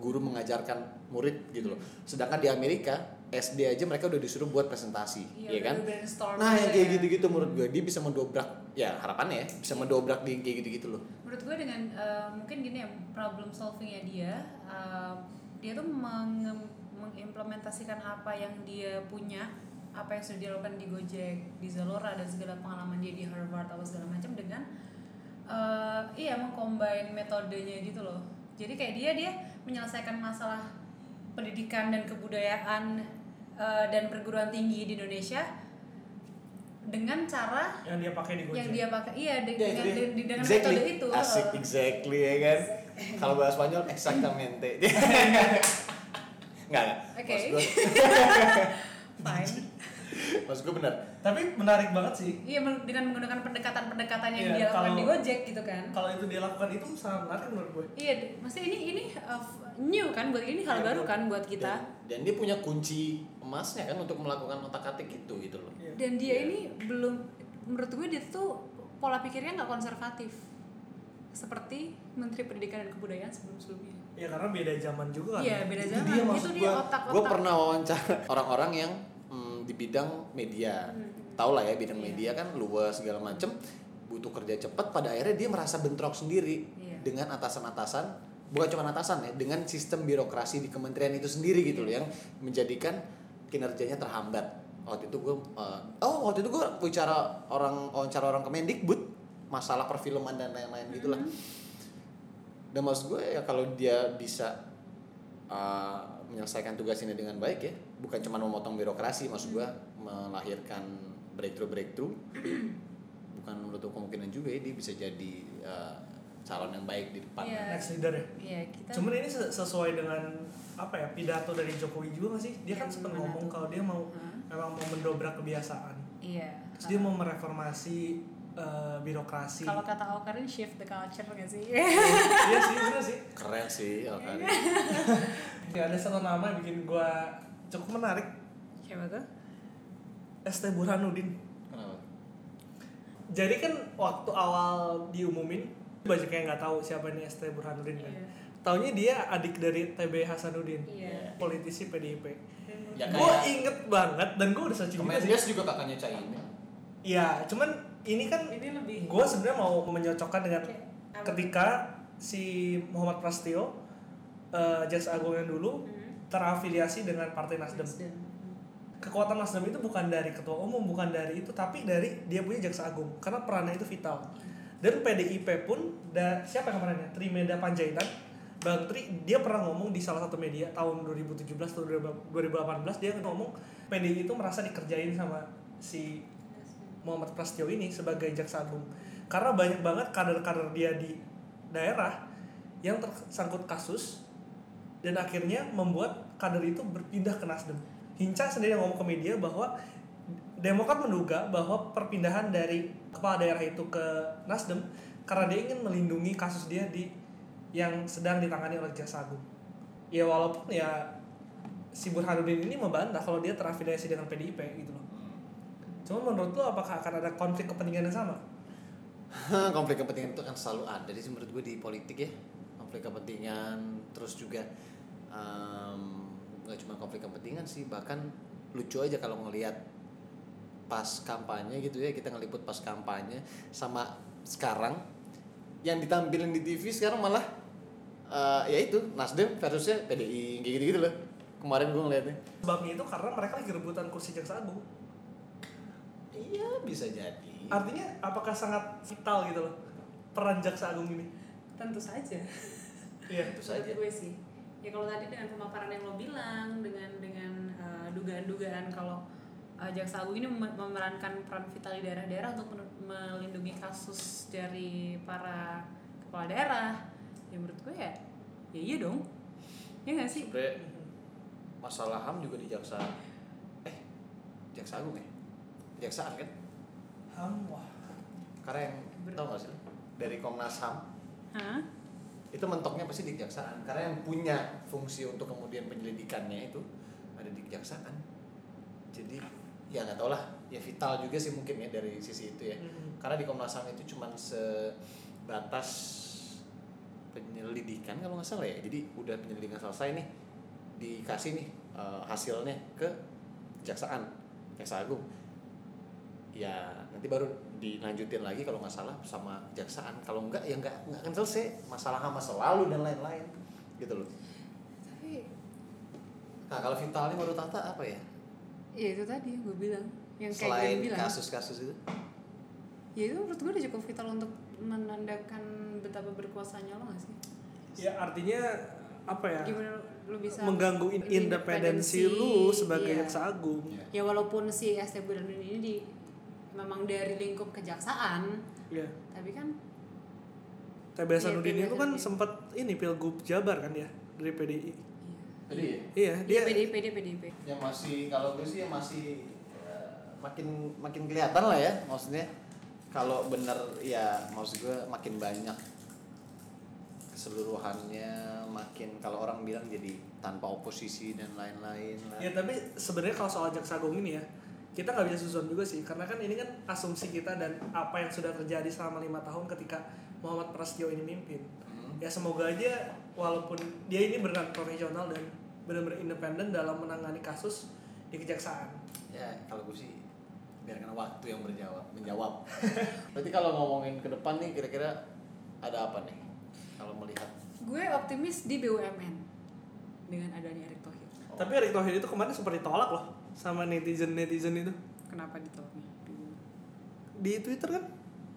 A: guru mengajarkan murid gitu loh sedangkan di Amerika SD aja mereka udah disuruh buat presentasi ya
D: Iya,
A: kan
D: baru brainstorm
A: Nah, yang
D: gitu
A: kayak
D: ya.
A: gitu-gitu menurut gue dia bisa mendobrak ya harapannya ya, bisa mendobrak di yang kayak gitu-gitu loh.
D: menurut gue dengan eh, mungkin gini ya problem solvingnya dia eh, dia tuh menge- mengimplementasikan apa yang dia punya apa yang sudah dilakukan di Gojek di Zalora dan segala pengalaman dia di Harvard atau segala macam dengan eh, iya mengcombine metodenya gitu loh jadi kayak dia dia menyelesaikan masalah pendidikan dan kebudayaan eh, dan perguruan tinggi di Indonesia dengan cara
C: yang dia pakai di Gojek
D: yang dia pakai iya de-
C: Ya,
D: dengan de- de- dengan
A: exactly.
D: metode itu
A: Asik, exactly ya kan. Kalau bahasa Spanyol exactamente. Enggak, enggak.
D: Oke.
A: Maksud gue,
D: fine
A: maksud gue benar.
C: tapi menarik banget sih
D: iya men- dengan menggunakan pendekatan-pendekatan yang
C: Iya,
D: dia lakukan
C: kalau-
D: di Gojek gitu kan
C: kalau itu dia lakukan itu sangat menarik menurut gue
D: iya d- maksudnya ini ini uh, f- new kan buat ini hal
C: Iya,
D: baru
C: betul.
D: kan buat kita
A: Dan, dan dia punya kunci emasnya kan untuk melakukan otak-atik itu gitu loh.
C: Iya.
D: dan dia ini belum menurut gue dia tuh pola pikirnya nggak konservatif seperti Menteri Pendidikan dan Kebudayaan sebelum-sebelumnya
C: ya karena beda zaman juga kan
D: Iya, beda
A: itu
D: zaman.
A: dia
D: Itu
A: maksud
D: dia
A: gue
D: otak-otak.
A: gue pernah wawancara orang-orang yang mm, di bidang media tau lah ya bidang media kan luas segala macem butuh kerja cepat pada akhirnya dia merasa bentrok sendiri
D: Iya.
A: dengan atasan-atasan bukan cuma atasan ya dengan sistem birokrasi di kementerian itu sendiri gitu loh yang menjadikan kinerjanya terhambat waktu itu gue oh waktu itu gue bicara orang wawancara orang Kemendikbud masalah perfilman dan lain-lain gitu gitulah dan maksud gue ya kalau dia bisa uh, menyelesaikan tugas ini dengan baik ya bukan cuma memotong birokrasi maksud gue melahirkan breakthrough breakthrough bukan menutup kemungkinan juga ya dia bisa jadi uh, calon yang baik di depan
D: Iya.
C: next leader ya
D: Iya, kita
C: Cuman ini se- sesuai dengan apa ya pidato dari Jokowi juga gak sih? Dia kan
D: Yang
C: sempat
D: mana
C: ngomong
D: tuh?
C: kalau dia mau
D: Iya, Hah?
C: memang mau mendobrak kebiasaan.
D: Iya.
C: Terus dia mau mereformasi eh, birokrasi.
D: Kalau kata Okarin shift the culture gak sih?
C: Iya sih, bener sih.
A: keren sih Alkari
C: Ya, ada satu nama yang bikin gua cukup menarik.
D: Siapa tuh?
C: ST Burhanuddin.
A: kenapa
C: Jadi kan waktu awal diumumin banyak yang nggak tahu siapa ini ST Burhanuddin kan.
D: Iya.
C: Taunya dia adik dari TB Hasanuddin,
D: Iya.
C: politisi PDIP.
A: ya
C: Gue
A: kayak
C: inget banget dan gue udah searching juga sih.
A: Kemendes juga kakaknya Caimin
C: Iya, cuman ini kan
D: Ini lebih
C: gue sebenarnya mau menyocokkan dengan
D: Oke, apa?
C: ketika si Muhammad Prastio eh jaksa agung yang dulu
D: Hmm.
C: terafiliasi dengan partai Nasdem.
D: Nasdem.
C: Kekuatan Nasdem itu bukan dari ketua umum, bukan dari itu, tapi dari dia punya jaksa agung karena perannya itu vital. Dan PDIP pun da, siapa yang kemarin ya? Trimeda Panjaitan. Bang Tri dia pernah ngomong di salah satu media tahun 2017 atau 2018 dia ngomong PDI itu merasa dikerjain sama si Muhammad Prasetyo ini sebagai jaksa agung karena banyak banget kader-kader dia di daerah yang tersangkut kasus dan akhirnya membuat kader itu berpindah ke Nasdem. Hinca sendiri yang ngomong ke media bahwa Demokrat menduga bahwa perpindahan dari kepala daerah itu ke Nasdem karena dia ingin melindungi kasus dia di yang sedang ditangani oleh jaksa agung. Ya walaupun ya si Burhanuddin ini membantah kalau dia terafiliasi dengan PDIP gitu loh. Cuma menurut lo apakah akan ada konflik kepentingan yang sama?
A: Hah, konflik kepentingan itu kan selalu ada sih menurut gue di politik ya konflik kepentingan terus juga em, nggak cuma konflik kepentingan sih bahkan lucu aja kalau ngelihat pas kampanye gitu ya kita ngeliput pas kampanye sama sekarang yang ditampilin di TV sekarang malah eh, ya itu Nasdem versusnya PDI kayak gitu gitu loh kemarin gue ngeliatnya
C: Sebabnya itu karena mereka lagi rebutan kursi jaksa agung.
A: iya bisa jadi
C: Artinya apakah sangat vital gitu loh peran jaksa agung ini?
D: Tentu saja.
C: Iya.
A: Tentu saja.
D: Menurut gue sih. Ya kalau tadi dengan pemaparan yang lo bilang, dengan dengan eh, dugaan-dugaan kalau eh, jaksa agung ini mem- memerankan peran vital di daerah-daerah untuk men- melindungi kasus dari para kepala daerah. Ya menurut gue ya, ya iya dong. Ya nggak sih?
A: sebenarnya masalah ham juga di jaksa eh jaksa agung ya jaksa kan
C: Ham, wah.
A: karena yang
D: Ber-
A: tau gak sih dari komnas ham
D: Hah?
A: itu mentoknya pasti di kejaksaan karena yang punya fungsi untuk kemudian penyelidikannya itu ada di kejaksaan jadi ya nggak tau lah ya vital juga sih mungkin ya dari sisi itu ya
C: Mhm.
A: karena di komnas ham itu cuman sebatas penyelidikan kalau nggak salah ya jadi udah penyelidikan selesai nih dikasih nih eh, hasilnya ke kejaksaan jaksa agung ya nanti baru dilanjutin lagi kalau nggak salah sama kejaksaan kalau nggak ya nggak nggak akan selesai masalah sama selalu dan lain-lain gitu loh
D: Tapi
A: nah kalau vitalnya menurut Tata apa ya
D: ya itu tadi yang gue bilang yang kayak
A: selain
D: gue bilang
A: kasus-kasus itu
D: ya itu menurut gue udah cukup vital untuk menandakan betapa berkuasanya lo gak sih
C: Ya artinya apa ya?
D: gimana lo- lo bisa
C: Mengganggu in- independensi lu sebagai
D: iya.
C: jaksa agung.
A: Iya.
D: ya walaupun si ST Burhanuddin ini di, memang dari lingkup kejaksaan
C: Iya.
D: tapi kan
C: TB
D: Iya,
C: Hasanuddin
D: TB
C: itu kan
D: Hasanuddin.
C: sempat ini pilgub Jabar kan dia dari PDI.
A: jadi
C: Iya,
D: dia
C: dia
D: PDIP dia PDIP
A: yang Ya, masih kalau gue sih yang masih eh, makin makin kelihatan lah ya maksudnya kalau bener ya maksud gue makin banyak keseluruhannya makin kalau orang bilang jadi tanpa oposisi dan lain-lain lah.
C: Ya tapi sebenarnya kalau soal jaksa agung ini ya kita nggak bisa susun juga sih karena kan ini kan asumsi kita dan apa yang sudah terjadi selama lima tahun ketika Muhammad Prasetyo ini mimpin.
A: Hmm.
C: Ya semoga aja walaupun dia ini benar profesional dan benar-benar independen dalam menangani kasus di kejaksaan.
A: ya kalau gue sih biarkan waktu yang berjawab menjawab berarti kalau ngomongin ke depan nih kira-kira ada apa nih kalau melihat
D: gue optimis di BUMN dengan adanya Erick Thohir
A: Oh.
C: Tapi Erick Thohir itu kemarin sempat ditolak loh. sama netizen netizen itu
D: Kenapa ditolak nih?
C: di Twitter kan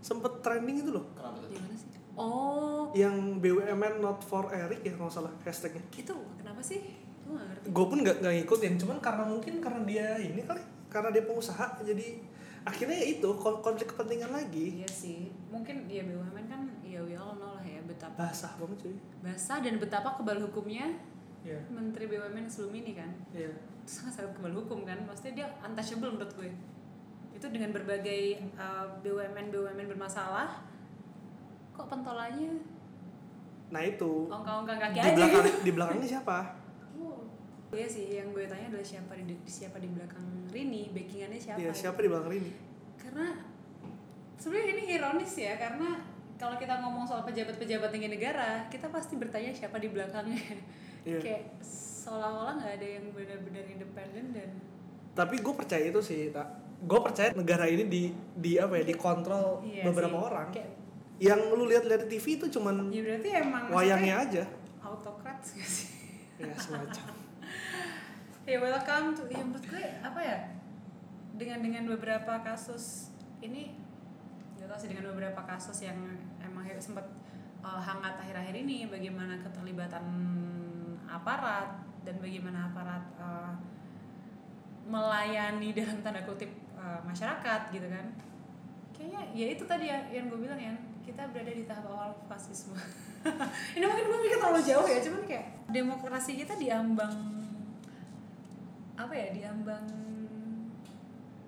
C: sempet trending itu loh
E: Kenapa tuh?
D: Gimana sih? Oh,
C: yang BUMN not for Eric ya kalau nggak salah hashtagnya
D: itu kenapa sih? Gue gak ngerti.
C: gue pun nggak nggak ngikutin cuman karena mungkin karena dia ini kali karena dia pengusaha jadi akhirnya ya itu kon- konflik kepentingan lagi
D: Iya sih, mungkin ya BUMN kan ya we all know lah ya betapa
C: basah banget cuy
D: basah dan betapa kebal hukumnya
C: Iya.
D: Menteri BUMN sebelum ini kan.
C: Iya.
D: Itu sangat sangat kebal hukum kan, maksudnya dia untouchable menurut gue. Itu dengan berbagai uh, BUMN BUMN bermasalah, kok pentolannya
C: Nah itu
D: ongkang-ongkang kaki
C: di
D: aja
C: belakang
D: gitu.
C: di belakangnya siapa?
D: Wow. Iya sih, yang gue tanya adalah siapa di siapa di belakang Rini, backingannya siapa? gitu.
C: Iya siapa di belakang ini?
D: karena sebenarnya ini ironis ya karena kalau kita ngomong soal pejabat-pejabat tinggi negara kita pasti bertanya siapa di belakangnya
C: Iya.
D: kayak seolah-olah nggak ada yang benar-benar independen dan
C: Tapi gue percaya itu sih, tak. Gue percaya negara ini di di apa ya dikontrol
D: Iya
C: beberapa
D: sih.
C: orang.
D: kayak
C: Yang lu lihat dari TV itu cuman
D: ya berarti emang
C: wayangnya aja.
D: maksudnya autokrat nggak sih
C: Ya semacam.
D: ya welcome to ya menurut gue apa ya dengan dengan beberapa kasus ini nggak tahu sih dengan beberapa kasus yang emang he- sempat uh, hangat akhir-akhir ini bagaimana keterlibatan aparat dan bagaimana aparat uh, melayani dalam tanda kutip uh, masyarakat gitu kan kayaknya ya itu tadi ya yang gue bilang ya kita berada di tahap awal fasisme ini mungkin gue mikir terlalu jauh ya cuman kayak demokrasi kita diambang apa ya diambang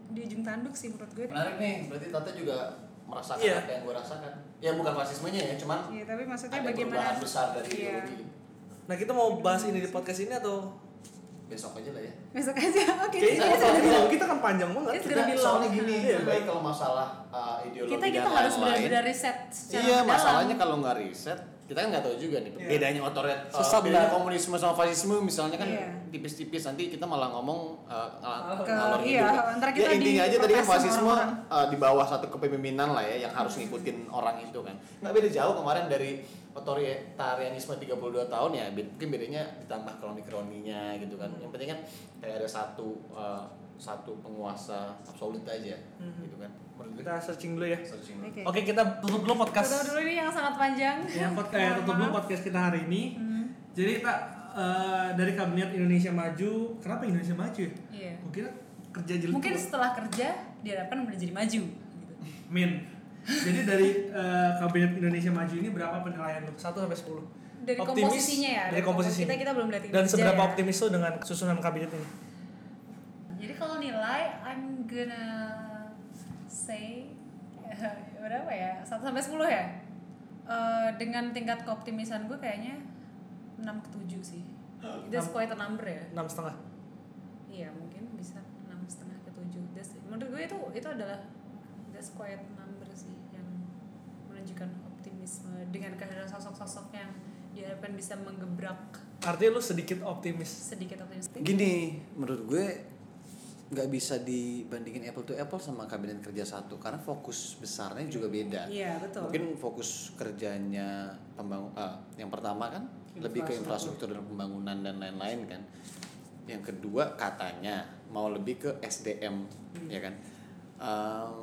D: di ujung tanduk sih menurut gue
A: Menarik nih, berarti Tante juga merasakan
C: Iya.
A: apa yang gue rasakan. Ya bukan fasismenya ya, cuman
D: Iya, tapi maksudnya
A: ada perubahan
D: bagaimana
A: besar dari
D: Iya.
A: ideologi.
C: Nah kita mau bahas ini di podcast ini atau
A: Besok aja lah ya.
D: Besok aja. Oke.
C: kayaknya
A: Iya,
C: kita
A: iya.
C: bilang kita kan panjang banget.
D: It's gonna be long.
A: soalnya gini,
C: Iya.
A: baik kalau masalah uh, ideologi
D: Kita
A: dan
D: kita harus
A: lain-lain.
D: benar-benar riset secara
A: Iya,
D: mendalam.
A: masalahnya kalau nggak riset, kita kan nggak tahu juga nih
C: Iya.
A: bedanya otorit, uh,
C: Susah
A: bedanya
C: banget.
A: komunisme sama fasisme misalnya kan
D: Iya.
A: tipis-tipis nanti kita malah ngomong uh, ngal-
D: Ke-
A: ngalor
D: iya,
A: ngidul.
D: ntar
A: Ya
D: kita
A: intinya aja tadi kan
D: diprotes sama
A: fasisme
D: orang-orang.
A: uh, di bawah satu kepemimpinan lah ya yang harus ngikutin orang itu kan. Nggak beda jauh kemarin dari otoritarianisme 32 tahun ya bed- mungkin bedanya ditambah kroni-kroninya gitu kan. Yang penting kan kayak ada satu uh, satu penguasa absolut aja
D: Mhm.
A: gitu kan. Menurut gue,
C: Kita searching dulu ya.
A: searching dulu.
D: Oke.
C: Oke kita tutup dulu
D: Tutup
C: podcast.
D: dulu ini yang sangat panjang.
A: Iya.
C: Ya, pod- eh, tutup dulu podcast kita hari ini.
D: Hmm.
C: Jadi kita eh, dari kabinet Indonesia Maju, kenapa Indonesia Maju ya?
D: Iya.
C: Mungkin kerja jelek.
D: Mungkin
C: juga.
D: setelah kerja diharapkan menjadi maju. Gitu.
C: Min. Jadi dari eh, kabinet Indonesia Maju ini berapa penilaian lu? 1 sampai 10.
D: Dari
C: Optimis
D: komposisinya ya.
C: Dari komposisinya.
D: Kita kita belum lihat
C: Dan
D: kinerja
C: seberapa
D: ya.
C: optimis lu dengan susunan kabinet ini?
D: Jadi kalau nilai I'm gonna say berapa ya? 1 sampai 10 ya? Eh, dengan tingkat keoptimisan gue kayaknya 6 ke 7 sih. That's quite a number ya.
C: 6 setengah.
D: Iya, mungkin bisa 6 setengah ke 7. That's, menurut gue itu itu adalah that's quite a number sih yang menunjukkan optimisme dengan kehadiran sosok-sosok yang diharapkan bisa menggebrak
C: Artinya lu sedikit optimis.
D: sedikit optimistik.
A: Gini, menurut gue nggak bisa dibandingin apple to apple sama kabinet kerja satu karena fokus besarnya juga beda.
D: Iya, betul.
A: ya? Mungkin fokus kerjanya pembangun yang pertama kan lebih ke infrastruktur dan pembangunan dan lain-lain kan. Yang kedua katanya mau lebih ke SDM
D: Hmm.
A: ya kan. Em,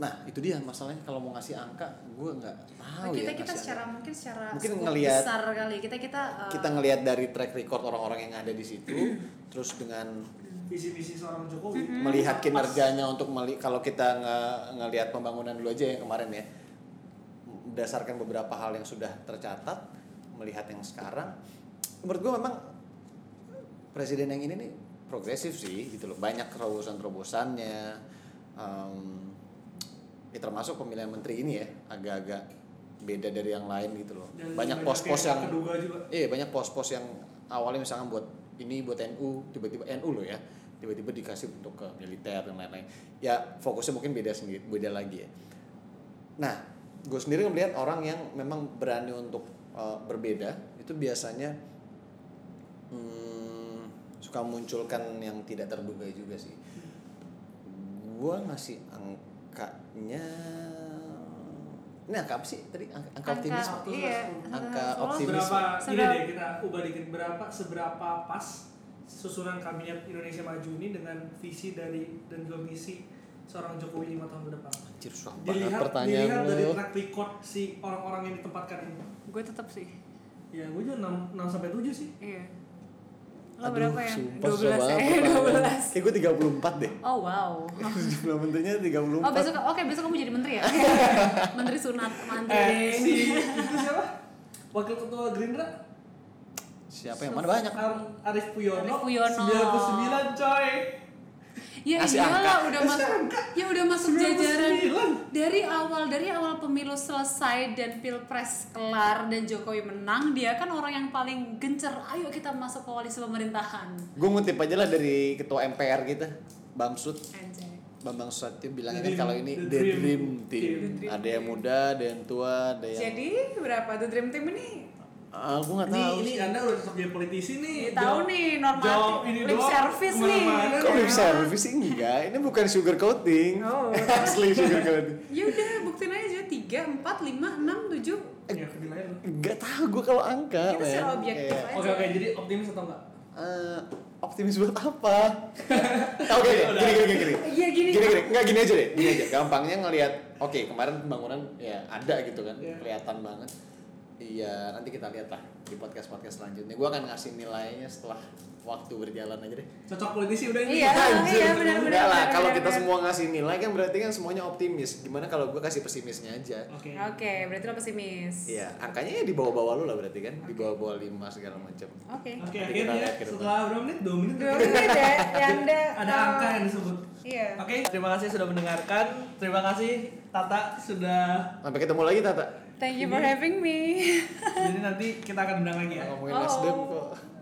A: nah itu dia masalahnya kalau mau ngasih angka gue nggak tahu
D: Nah, kita
A: ya
D: kita
A: ngasih
D: secara
A: angka.
D: mungkin secara
A: Mungkin
D: scope
A: ngelihat-
D: besar kali kita kita uh,
A: kita ngelihat dari track record orang-orang yang ada di situ terus dengan
C: Visi-visi seorang Jokowi.
D: Mm-hmm.
A: melihat kinerjanya untuk meli kalau kita nge ngelihat pembangunan dulu aja yang kemarin ya berdasarkan beberapa hal yang sudah tercatat melihat yang sekarang menurut gue memang presiden yang ini nih progresif sih gitu loh banyak terobosan-terobosannya Em, ya termasuk pemilihan menteri ini ya agak-agak beda dari yang lain gitu loh
C: Dan
A: banyak pos-pos
C: yang
A: yang
C: tak terduga juga.
A: Iya banyak pos-pos yang awalnya misalkan buat ini buat NU tiba-tiba NU loh ya tiba-tiba dikasih untuk ke militer dan lain-lain ya fokusnya mungkin beda sendiri beda lagi ya nah gue sendiri melihat orang yang memang berani untuk eh, berbeda itu biasanya hmm, suka munculkan yang tidak terduga juga sih gue ngasih angkanya ini angka apa sih tadi angka, angka optimis
D: iya,
A: angka
D: sebelas.
A: optimis
C: Berapa ini
D: Seberapa-
C: deh kita ubah dikit berapa seberapa pas susunan kabinet Indonesia Maju ini dengan visi dari dan juga misi seorang Jokowi lima tahun ke depan.
A: Anjir susah banget
C: Dilihat,
A: pertanyaan
C: dilihat dari
A: lu.
C: track record si orang-orang yang ditempatkan ini.
D: Gue tetap sih.
C: Ya, gue juga 6, sampai 7 sih.
D: Iya.
A: Aduh,
D: Lo berapa ya?
A: sumpah, susah
D: 12
A: banget
D: eh
A: pertanyaan.
D: 12.
A: Kayak gue 34 deh.
D: Oh wow.
A: Jumlah menterinya 34.
D: Oh besok oke besok kamu jadi menteri ya. menteri sunat, mantri
C: Eh,
D: deng.
C: si itu siapa? Wakil Ketua Gerindra
A: Siapa yang mana banyak?
C: Ar- Arif Puyono,
D: Arif Puyono.
C: 99 coy
D: Ya
A: Kasih
D: iyalah
A: angka.
D: udah masuk ya udah masuk
C: 99.
D: jajaran dari awal dari awal pemilu selesai dan pilpres kelar dan Jokowi menang dia kan orang yang paling gencer ayo kita masuk koalisi pemerintahan
A: Gue ngutip aja lah dari ketua MPR kita, Bamsud.
D: anjay
A: Bambang Susatyo bilang
C: The
A: ini
C: dream-
A: kalau ini
C: the
A: the,
C: dream
A: dream,
C: team.
A: team.
C: The
D: dream
A: ada yang muda, ada yang tua, ada yang
D: jadi berapa tuh dream team ini
A: Ah, gue nggak
C: Ini,
A: tahu.
C: ini anda udah tetap jadi politisi nih
D: tahu
C: Jawab-
D: nih normatif
C: jawab ini
D: lip
C: doang,
D: service nih
C: kemana-mana.
A: Kok lip service sih? enggak? Ini bukan sugar coating.
D: Oh.
A: Asli sugar coating.
D: ya udah buktiin aja tiga empat lima enam tujuh
C: Ya, kedil aja lu.
A: Gak tahu gue kalau angka.
D: Kita secara
A: men.
D: objektif
A: Kayak,
D: aja.
C: Oke oke, jadi optimis atau enggak?
A: eh, optimis buat apa? Oke, oke, gini gini gini. gini.
D: Iya gini.
A: gini gini nggak gini aja deh gini aja gampangnya ngelihat oke kemarin pembangunan ya ada gitu kan
C: Iya.
A: kelihatan banget iya nanti kita lihat lah di podcast podcast selanjutnya gue akan ngasih nilainya setelah waktu berjalan aja deh
C: Cocok politisi udah ini
D: Iya,
A: Anjir.
D: iya benar-benar.
A: Enggak lah
D: benar,
A: kalau
D: benar,
A: kita
D: benar.
A: semua ngasih nilai kan berarti kan semuanya optimis gimana kalau gue kasih pesimisnya aja
C: Oke
D: Oke, berarti lo pesimis.
A: iya angkanya ya di bawah-bawah lu lah berarti kan di bawah-bawah lima segala macam
D: Oke.
C: Oke,
A: Kita
C: akhirnya
A: lihat ke depan.
C: setelah berapa menit? 2 menit
D: Dua menit ya, ya Anda.
C: Ada
D: eh,
C: angka ya? yang disebut
D: Iya.
C: Oke, terima kasih sudah mendengarkan Terima kasih Tata sudah
A: sampai ketemu lagi tata
D: Thank you for having me.
C: Jadi nanti kita akan undang lagi ya
A: ngomongin
D: Oh.
A: nasdem kok